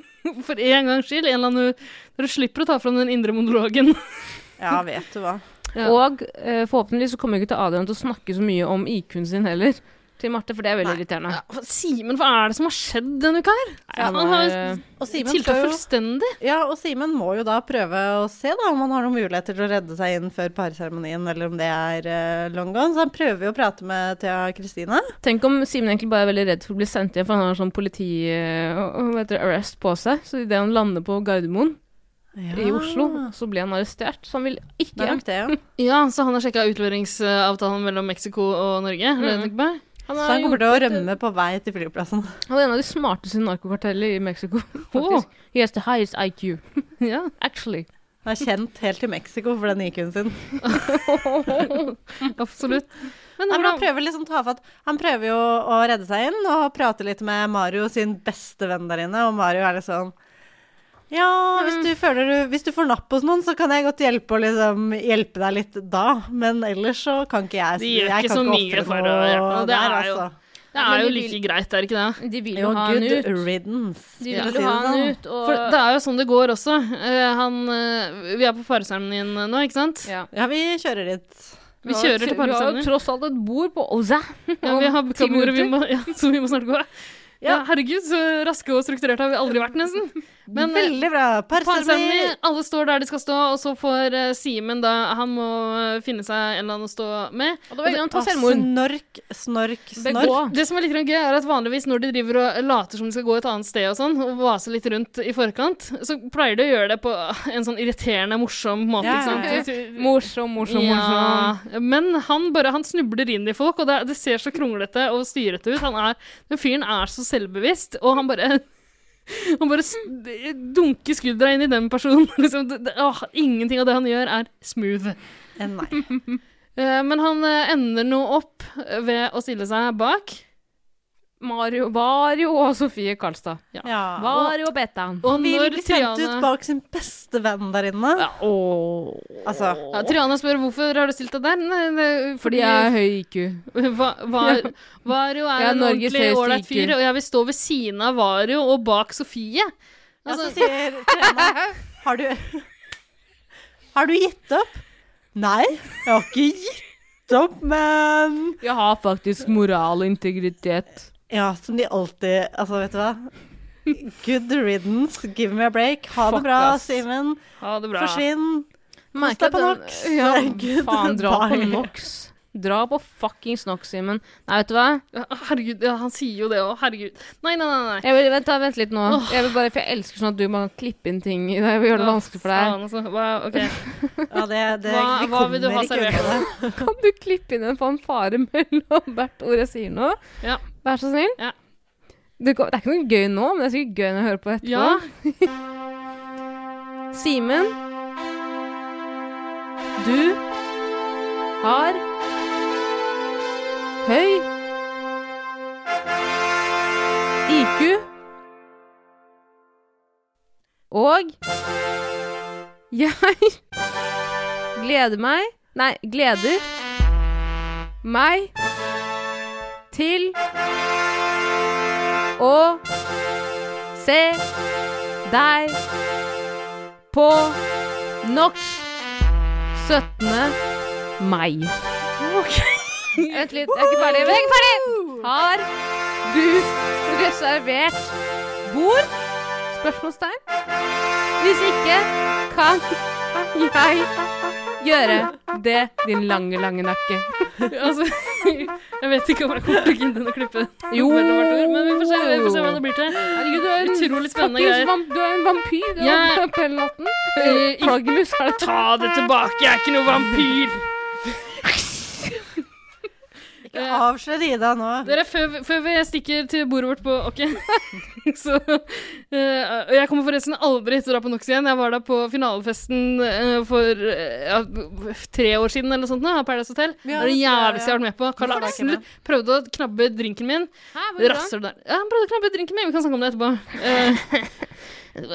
Speaker 2: For en gangs skyld. En eller annen, dere slipper å ta fram den indre monologen.
Speaker 3: eh, Ja, vet du hva.
Speaker 2: Ja.
Speaker 1: Og eh, forhåpentligvis så kommer ikke til Adrian til å snakke så mye om IQ-en sin heller. Til Marte, for det er veldig irriterende.
Speaker 2: Ja, hva- Simen, hva er det som har skjedd denne uka her?
Speaker 1: Han
Speaker 2: han har
Speaker 1: er, eh,
Speaker 3: Og Simen
Speaker 2: tilta
Speaker 3: skal jo
Speaker 2: fullstendig.
Speaker 3: Ja, og Simen må jo da prøve å se da, om han har noen muligheter til å redde seg inn før parseremonien, eller om det er eh, long gone. Så han prøver jo å prate med Thea Kristine.
Speaker 1: tenk om Simen egentlig bare er veldig redd for å bli sendt hjem, for han har sånn politi... eh, hva heter det, arrest på seg. Så idet han lander på Gardermoen i Oslo, så blir han arrestert. Så han vil
Speaker 3: Det
Speaker 1: ikke
Speaker 3: er
Speaker 1: hjem.
Speaker 3: nok det, ja.
Speaker 2: Ja, så han har sjekka utleveringsavtalen mellom Mexico og Norge? er det det du tenker på?
Speaker 1: Han
Speaker 3: Så
Speaker 1: er,
Speaker 3: han
Speaker 1: jo-
Speaker 3: kommer til å rømme på vei til flyplassen.
Speaker 1: han er en av de smarteste narkokartellene i Mexico, faktisk. He has the highest IQ,
Speaker 2: Ja.
Speaker 1: actually.
Speaker 3: Han er kjent helt til Mexico for den IQ-en sin.
Speaker 2: Absolutt. Men
Speaker 3: Nei, men han
Speaker 2: hvordan-
Speaker 3: prøver liksom å ta fatt. Han prøver jo å redde seg inn og prate litt med Mario, sin beste venn der inne, og Mario er litt sånn ja,
Speaker 2: Mm.
Speaker 3: hvis du, føler du, hvis du får napp hos noen, så kan jeg godt hjelpe, og liksom, hjelpe deg litt da. Men ellers så kan ikke jeg
Speaker 2: De gjør
Speaker 3: jeg
Speaker 2: ikke
Speaker 3: kan
Speaker 2: så mye
Speaker 3: ofre
Speaker 2: for å
Speaker 3: noe
Speaker 2: hjelpe noen, det
Speaker 3: der,
Speaker 2: er jo-
Speaker 3: altså.
Speaker 2: det
Speaker 1: men
Speaker 2: er jo
Speaker 1: vi
Speaker 2: like greit, er det ikke det?
Speaker 1: De vil jo
Speaker 3: Jo,
Speaker 1: ha han
Speaker 3: good
Speaker 1: ut.
Speaker 3: riddance.
Speaker 1: De
Speaker 3: for å
Speaker 1: vil jo
Speaker 3: si det
Speaker 1: ha han
Speaker 3: sånn.
Speaker 1: ut, og
Speaker 2: For det er jo sånn det går også. Eh, han, eh, vi er på pareseremonien nå, ikke sant?
Speaker 1: ja.
Speaker 3: Ja, vi kjører dit.
Speaker 2: Vi kjører til
Speaker 1: Vi har jo
Speaker 2: pareseremonien.
Speaker 1: tross alt et bord på Oza.
Speaker 2: Ja, vi har kamera, vi må, ja, så vi må snart gå. Ja, herregud, så raske og strukturerte har vi aldri vært, nesten. Men eh,
Speaker 3: Veldig bra. Parseremoni.
Speaker 2: Parseremoni, alle står der de skal stå, og så får eh, Simen da Han må eh, finne seg en eller annen å stå med.
Speaker 1: Og da velger han å ta
Speaker 3: Ah,
Speaker 1: selvmord.
Speaker 3: Snork, snork, snork.
Speaker 1: Begå.
Speaker 2: Det som er litt grann gøy, er at vanligvis når de driver og later som de skal gå et annet sted og sånn, og vaser litt rundt i forkant, så pleier de å gjøre det på en sånn irriterende, morsom måte,
Speaker 3: Ja,
Speaker 2: ikke sant?
Speaker 3: ja,
Speaker 1: Morsom, morsom, morsom.
Speaker 2: Ja, men han bare han snubler inn i folk, og det, det ser så kronglete og styrete ut. Han er, den fyren er så selvbevisst, og han bare han bare s- dunker skuldra inn i den personen. Liksom, det, det, åh, ingenting av det han gjør, er smooth.
Speaker 3: Eh, Nei.
Speaker 2: Eh, men han eh, ender nå opp ved å stille seg bak.
Speaker 1: Mario, Vario og Sofie Karlstad.
Speaker 3: Ja.
Speaker 1: Vario og Betan.
Speaker 2: Og
Speaker 3: Han vil
Speaker 2: når
Speaker 3: bli sendt ut
Speaker 2: Triana,
Speaker 3: bak sin beste venn der inne. Altså,
Speaker 2: ja, Triana spør hvorfor har du stilt deg der, Nei, det-
Speaker 1: Fordi jeg er høy IQ.
Speaker 2: Va- Var, Vario er
Speaker 1: Jeg er
Speaker 2: en
Speaker 1: Norges
Speaker 2: ordentlig
Speaker 1: høyeste
Speaker 2: ålreit
Speaker 1: IQ.
Speaker 2: fyr, og jeg vil stå ved siden av Vario og bak Sofie.
Speaker 3: ja, så
Speaker 2: Altså,
Speaker 3: sier Trena Har du Har du gitt opp? Nei, jeg har ikke gitt Stopp, man!
Speaker 1: Jeg har faktisk moral og integritet.
Speaker 3: Ja, som de alltid Altså, vet du hva? Good riddance, give me a break. Ha
Speaker 2: Fuck,
Speaker 3: det bra,
Speaker 2: ass.
Speaker 3: Simen.
Speaker 2: Ha det bra.
Speaker 3: Forsvinn.
Speaker 1: Merker
Speaker 3: Kosta på
Speaker 1: at den-
Speaker 3: Nox.
Speaker 1: Ja,
Speaker 3: Herregud,
Speaker 1: faen, dra på
Speaker 3: bye.
Speaker 1: NOx. Dra på fuckings NOx, Simen. Nei, vet du hva?
Speaker 2: Herregud, ja, han sier jo det òg. Herregud. Nei, nei, nei. nei.
Speaker 1: Jeg vil, vent, da, vent litt nå. Jeg vil bare, for jeg elsker sånn at du bare kan klippe inn ting i deg. Jeg vil gjøre det vanskelig for deg.
Speaker 2: Faen, altså. Hva- ok.
Speaker 3: Ja, det, det,
Speaker 2: Hva-
Speaker 3: vi
Speaker 2: hva vil du
Speaker 3: kommer
Speaker 2: ha
Speaker 3: ikke unna
Speaker 2: servert?
Speaker 3: det.
Speaker 1: Kan du klippe inn en fanfare mellom hvert ord jeg sier nå?
Speaker 2: Ja.
Speaker 1: Vær så snill?
Speaker 2: Ja.
Speaker 1: Det, går- det er ikke noe gøy nå, men det er sikkert gøy når jeg hører på etterpå.
Speaker 2: Ja.
Speaker 1: Simen, du har høy IQ og jeg gleder meg Nei, gleder meg til å se deg på NOX 17. mai. Vent litt, jeg er ikke ferdig. Jeg er ikke ferdig! Har du reservert bord? Spørsmålstegn. Hvis ikke kan jeg gjøre det, din lange, lange nakke.
Speaker 2: Altså, jeg vet ikke om jeg kommer til å gidde å klippe
Speaker 1: Jo.
Speaker 2: mellom hvert ord, men vi får se, vi får se hva det blir til.
Speaker 1: Herregud, du er en
Speaker 2: Utrolig spennende
Speaker 1: fuckings
Speaker 2: greier.
Speaker 1: vamp- Du er en vampyr. Du
Speaker 2: Jeg-
Speaker 1: er på natten.
Speaker 2: Eh, ikke-
Speaker 1: Flaggermus er det
Speaker 2: Ta det tilbake, jeg er ikke noe vampyr!
Speaker 3: Ikke
Speaker 2: Eh,
Speaker 3: avslør Ida nå.
Speaker 2: Dere, før, vi- før vi stikker til bordet vårt på OK, så eh, Og jeg kommer forresten aldri til å dra på NOX igjen. Jeg var da på finalefesten eh, for eh, ja, tre år siden eller noe sånt, nå, av Paradise Hotel. det
Speaker 3: Ja,
Speaker 2: var det
Speaker 3: det tror jeg,
Speaker 2: jævligste jeg
Speaker 3: ja.
Speaker 2: har vært med på. Karl
Speaker 3: Hvorfor var jeg ikke
Speaker 2: Aksel prøvde å knabbe drinken min. Rasser der. Ja, han prøvde å knabbe drinken min. Vi kan snakke om det etterpå. Eh,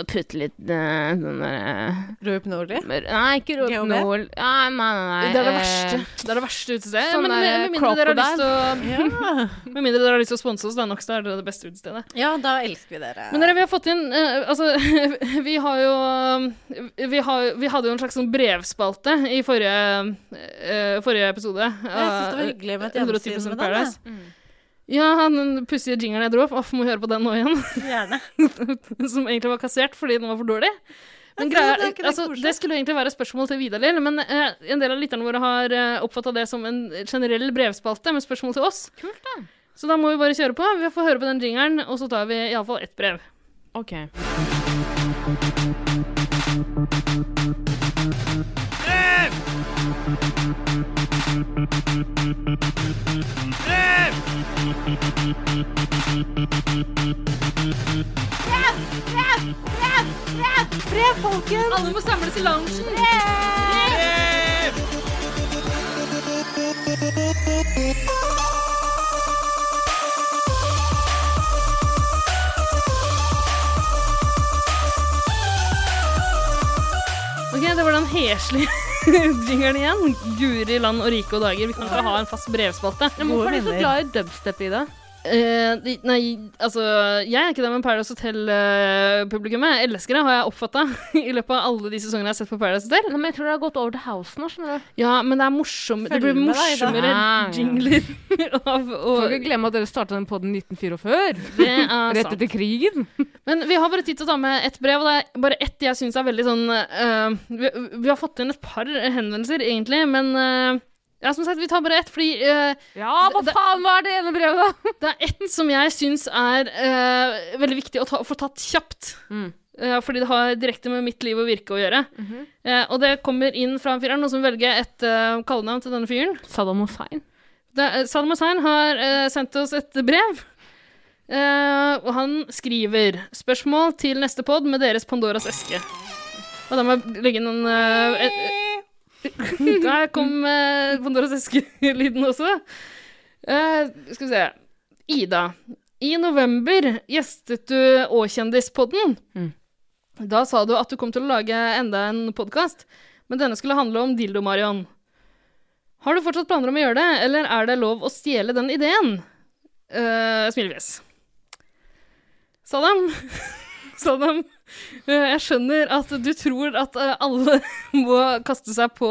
Speaker 1: Putte litt sånn der
Speaker 3: Rop Nordli.
Speaker 1: Mør- Nei, ikke
Speaker 3: GHB?
Speaker 1: Rohypnol. Nei, nei, nei.
Speaker 2: det er det
Speaker 1: eh,
Speaker 2: verste. Det er det verste utestedet.
Speaker 1: sånn
Speaker 2: men eh, med,
Speaker 1: der
Speaker 2: med, mindre dere har lyst til å,
Speaker 3: Ja.
Speaker 2: med mindre dere har lyst til å sponse oss, da, Nox, da er det det beste utestedet.
Speaker 3: ja, da elsker vi dere.
Speaker 2: Men dere, vi har fått inn eh, Altså, vi har jo eh, vi, har, vi hadde jo en slags sånn brevspalte i forrige, eh, forrige episode. Eh,
Speaker 3: jeg syns det var hyggelig med et gjensyn med den. jeg.
Speaker 2: Ja, den pussige jingeren jeg dro opp. Åh, må høre på den nå igjen.
Speaker 3: Gjerne.
Speaker 2: Som egentlig var kassert fordi den var for dårlig. Men
Speaker 3: Jeg synes
Speaker 2: greia,
Speaker 3: det er ikke det
Speaker 2: altså,
Speaker 3: koselig.
Speaker 2: det skulle egentlig være et spørsmål til Vidar Lill, men eh, en del av lytterne våre har uh, oppfatta det som en generell brevspalte med spørsmål til oss. Kult da. Så da må vi bare kjøre på. Vi får høre på den jingeren, og så tar vi iallfall ett brev.
Speaker 1: Ok.
Speaker 2: Alle må samles i loungen! Ok, det var den heslige jingeren igjen. Guri land og rike og dager. Vi kan ikke ha en fast brevspalte.
Speaker 1: Hvorfor er du så
Speaker 3: venner.
Speaker 1: glad i dubstep, Ida?
Speaker 2: Eh, de- nei, altså Jeg er ikke det med Paradise Hotel-publikummet. Jeg elsker det, har jeg oppfatta i løpet av alle de sesongene jeg har sett på Paradise Hotel.
Speaker 1: Nei, men jeg tror det har gått over til house nå, skjønner du.
Speaker 2: Ja, men det er morsom, det
Speaker 3: Følg
Speaker 2: blir
Speaker 3: med deg, da.
Speaker 2: morsommere
Speaker 1: Ah, ja.
Speaker 2: jingler av å
Speaker 1: Får ikke glemme at dere starta den podden 1944.
Speaker 2: Det er
Speaker 1: Rett
Speaker 2: sant.
Speaker 1: etter krigen.
Speaker 2: Men vi har bare tid til å ta med ett brev, og det er bare ett jeg syns er veldig sånn eh, vi, vi har fått inn et par henvendelser, egentlig, men eh, ja, som sagt, vi tar bare ett, fordi eh,
Speaker 1: Ja, hva faen, hva er det ene brevet, da?
Speaker 2: det er ett som jeg syns er eh, veldig viktig å ta, få tatt kjapt.
Speaker 1: Mm.
Speaker 2: Eh, fordi det har direkte med mitt liv og virke å gjøre. Eh, og det kommer inn fra en fyr. Er det noen som velger et eh, kallenavn til denne fyren?
Speaker 1: Saddam Hussein.
Speaker 2: Det er- Saddam Hussein har eh, sendt oss et brev. Eh, og han skriver 'Spørsmål til neste pod med deres Pandoras eske'. Og da må jeg legge inn en eh, et- Der kom eh, Pandoras eske-lyden også. Eh, skal vi se Ida. I november gjestet du Åkjendispodden.
Speaker 1: Mm.
Speaker 2: Da sa du at du kom til å lage enda en podkast, men denne skulle handle om Dildo-Marion. Har du fortsatt planer om å gjøre det, eller er det lov å stjele den ideen? Eh, Uh, smilefjes. Saddam. Saddam Eh, Jeg skjønner at du tror at eh, alle må kaste seg på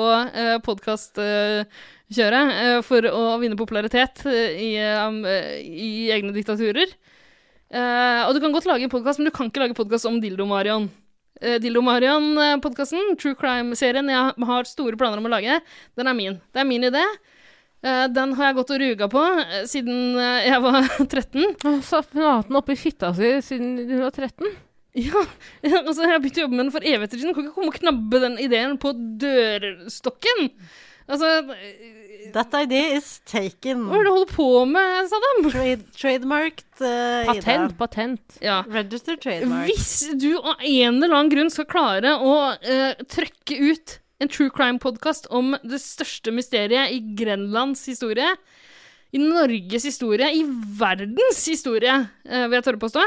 Speaker 2: podkastkjøret for å vinne popularitet eh, i, um, eh, i egne diktaturer. Eh, Og du kan godt lage en podkast, men du kan ikke lage podkast om Dildo-Marion. Eh, Dildo-Marion-podkasten, True Crime-serien jeg har store planer om å lage, den er min. Det er min idé. Eh, Den har jeg gått og ruga på eh, siden eh, jeg var 13.
Speaker 1: Hun satt hun har hatt den oppi fitta si siden hun var 13.
Speaker 2: Ja, altså jeg begynte å jobbe med den for evigheter siden. Kan ikke komme og knabbe den ideen på dørstokken. Altså,
Speaker 3: That idea is taken.
Speaker 2: hva er det du holder på med, Saddam?
Speaker 3: Trade, trademarked eh,
Speaker 1: Patent,
Speaker 3: Ida.
Speaker 1: patent.
Speaker 2: Ja.
Speaker 3: Register trademark.
Speaker 2: Hvis du av en eller annen grunn skal klare å eh, trøkke ut en true crime-podkast om det største mysteriet i Grenlands historie, i Norges historie, i verdens historie, eh, vil jeg tørre påstå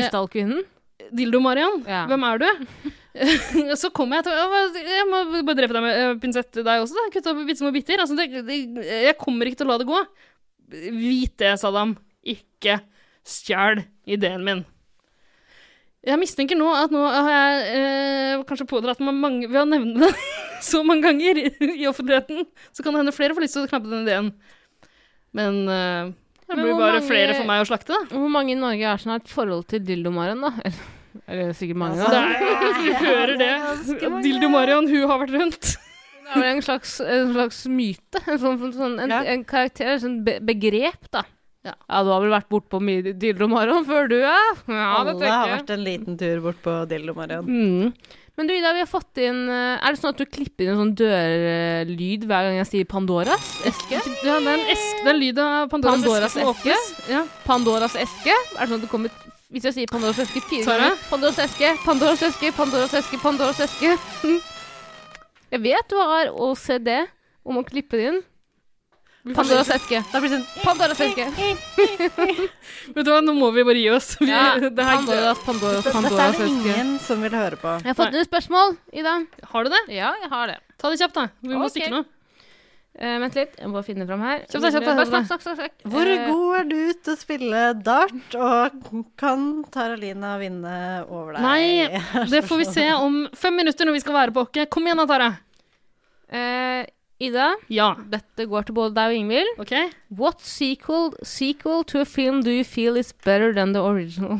Speaker 1: Isdalkvinnen.
Speaker 2: Dildo-Marion,
Speaker 1: Ja.
Speaker 2: hvem er du? så kommer jeg til å Jeg må bare drepe deg med eh, pinsett, deg også, da. Kutte opp i bitte små biter. Altså, det, det, jeg kommer ikke til å la det gå. Vit det, Saddam. Ikke stjel ideen min. Jeg mistenker nå at nå har jeg eh, kanskje pådratt meg mange Ved å nevne det så mange ganger i, i offentligheten, så kan det hende flere får lyst til å knappe den ideen. Men eh, det
Speaker 1: Men
Speaker 2: blir
Speaker 1: hvor
Speaker 2: bare
Speaker 1: mange-
Speaker 2: flere for meg å slakte, da.
Speaker 1: Hvor mange i Norge er som har et forhold til dildomaren, da? Eller, eller sikkert mange, da.
Speaker 2: Det er, du hører det. Dildo Marion, hun har vært rundt.
Speaker 1: Det er vel en slags, en slags myte. En, sånn, sånn- sånn, en,
Speaker 3: Ja.
Speaker 1: en karakter, et sånt be begrep, da.
Speaker 2: Ja.
Speaker 1: du har vel vært bortpå mye dildomaren før du, ja? Ja, det
Speaker 3: Alle har
Speaker 1: tenker jeg.
Speaker 3: vært en liten tur bort på Dildo-Marion.
Speaker 1: Mm. Men du, Ida, vi har fått inn eh, Er det sånn at du klipper inn en sånn dørlyd hver gang jeg sier Pandoras eske?
Speaker 2: Ja, det er en esk, det er lyd av Pandoras,
Speaker 1: Pandoras
Speaker 2: eske. som
Speaker 1: eske?
Speaker 2: åpnes. Ja.
Speaker 1: Pandoras eske? Er det sånn at det kommer Hvis jeg sier Pandoras eske fire
Speaker 2: Sara?
Speaker 1: ganger Pandoras eske, Pandoras eske, Pandoras eske, Pandoras eske. Mm. Jeg vet du har OCD om å klippe det inn. Pandoras eske.
Speaker 3: Da blir det sånn
Speaker 1: Pandoras eske.
Speaker 2: Vet du hva, nå må vi bare gi oss. Vi,
Speaker 1: Ja,
Speaker 2: det her,
Speaker 1: Pandoras, Pandoras,
Speaker 3: Dette er
Speaker 1: Pandoras
Speaker 3: det
Speaker 1: eske.
Speaker 3: ingen som vil høre på.
Speaker 2: Eh.
Speaker 1: Jeg har fått inn et spørsmål, Ida.
Speaker 2: har du det?
Speaker 1: Ja, jeg har det.
Speaker 2: Ta det kjapt, da. Vi må
Speaker 1: Ok.
Speaker 2: stikke nå.
Speaker 1: Eh, vent litt, jeg må bare finne det fram her.
Speaker 2: Kjapt, da, kjapt, da,
Speaker 1: Bare
Speaker 2: kjapt, da.
Speaker 1: snakk, snakk, snakk, snakk.
Speaker 3: Hvor
Speaker 1: Eh,
Speaker 3: god er du til å spille dart, og kan Taralina vinne over deg?
Speaker 2: Nei, Det får vi se om fem minutter når vi skal være på Åkke. Kom igjen da, Tara.
Speaker 1: eh, Ida,
Speaker 2: Ja.
Speaker 1: dette går til både deg og Ingvild.
Speaker 2: OK?
Speaker 1: What sequel, sequel to a film do you feel is better than the original?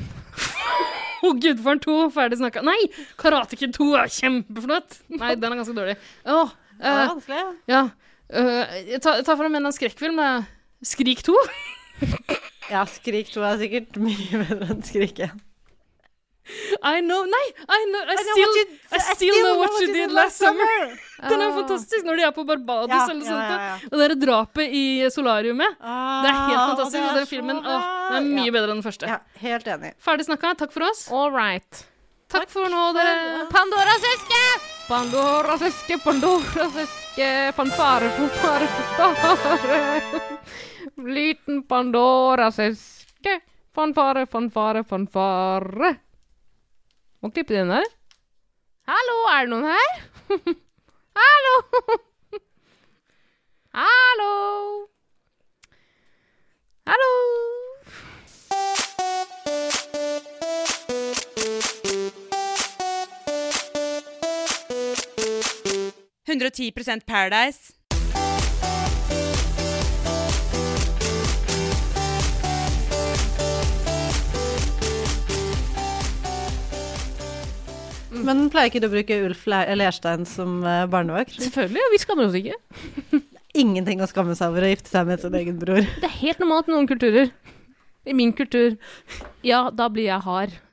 Speaker 2: Å, Gudfaren 2, ferdig snakka. Nei! Karate Kid 2 er kjempeflott. Nei, den er ganske dårlig. Åh,
Speaker 3: Det
Speaker 2: eh,
Speaker 3: er vanskelig.
Speaker 2: ja. Eh, ta, ta fram en eller annen skrekkfilm. da. Skrik 2.
Speaker 3: Ja, Skrik 2 er sikkert mye bedre enn Skrik 1.
Speaker 2: I know Nei! I know, I,
Speaker 3: know
Speaker 2: still,
Speaker 3: what you-
Speaker 2: I still know what you did last summer. Den er fantastisk når de er på Barbados
Speaker 3: Ja,
Speaker 2: eller
Speaker 3: ja,
Speaker 2: sånt.
Speaker 3: ja, Ah, ja.
Speaker 2: Og det er drapet i solariumet. sånn Ah, Det er helt fantastisk. Og den filmen å, den er mye
Speaker 3: bedre.
Speaker 2: bedre enn den første.
Speaker 3: Ja, helt enig.
Speaker 2: Ferdig snakka. Takk for oss.
Speaker 1: All right.
Speaker 2: Takk for nå, dere.
Speaker 1: Eh, Pandoras eske! Pandoras eske, Pandoras eske, fanfare, fanfare, fanfare. Liten Pandoras eske, fanfare, fanfare, fanfare. Må klippe den her. Hallo, er det noen her? Hallo! Hallo! Hallo!
Speaker 4: Paradise.
Speaker 3: Men pleier ikke du å bruke Ulf Le- Lerstein som eh, barnevakt?
Speaker 1: Selvfølgelig, vi skammer oss ikke.
Speaker 3: Ingenting å skamme seg over å gifte seg med sin egen bror.
Speaker 1: Det er helt normalt i noen kulturer. I min kultur. Ja, da blir jeg hard.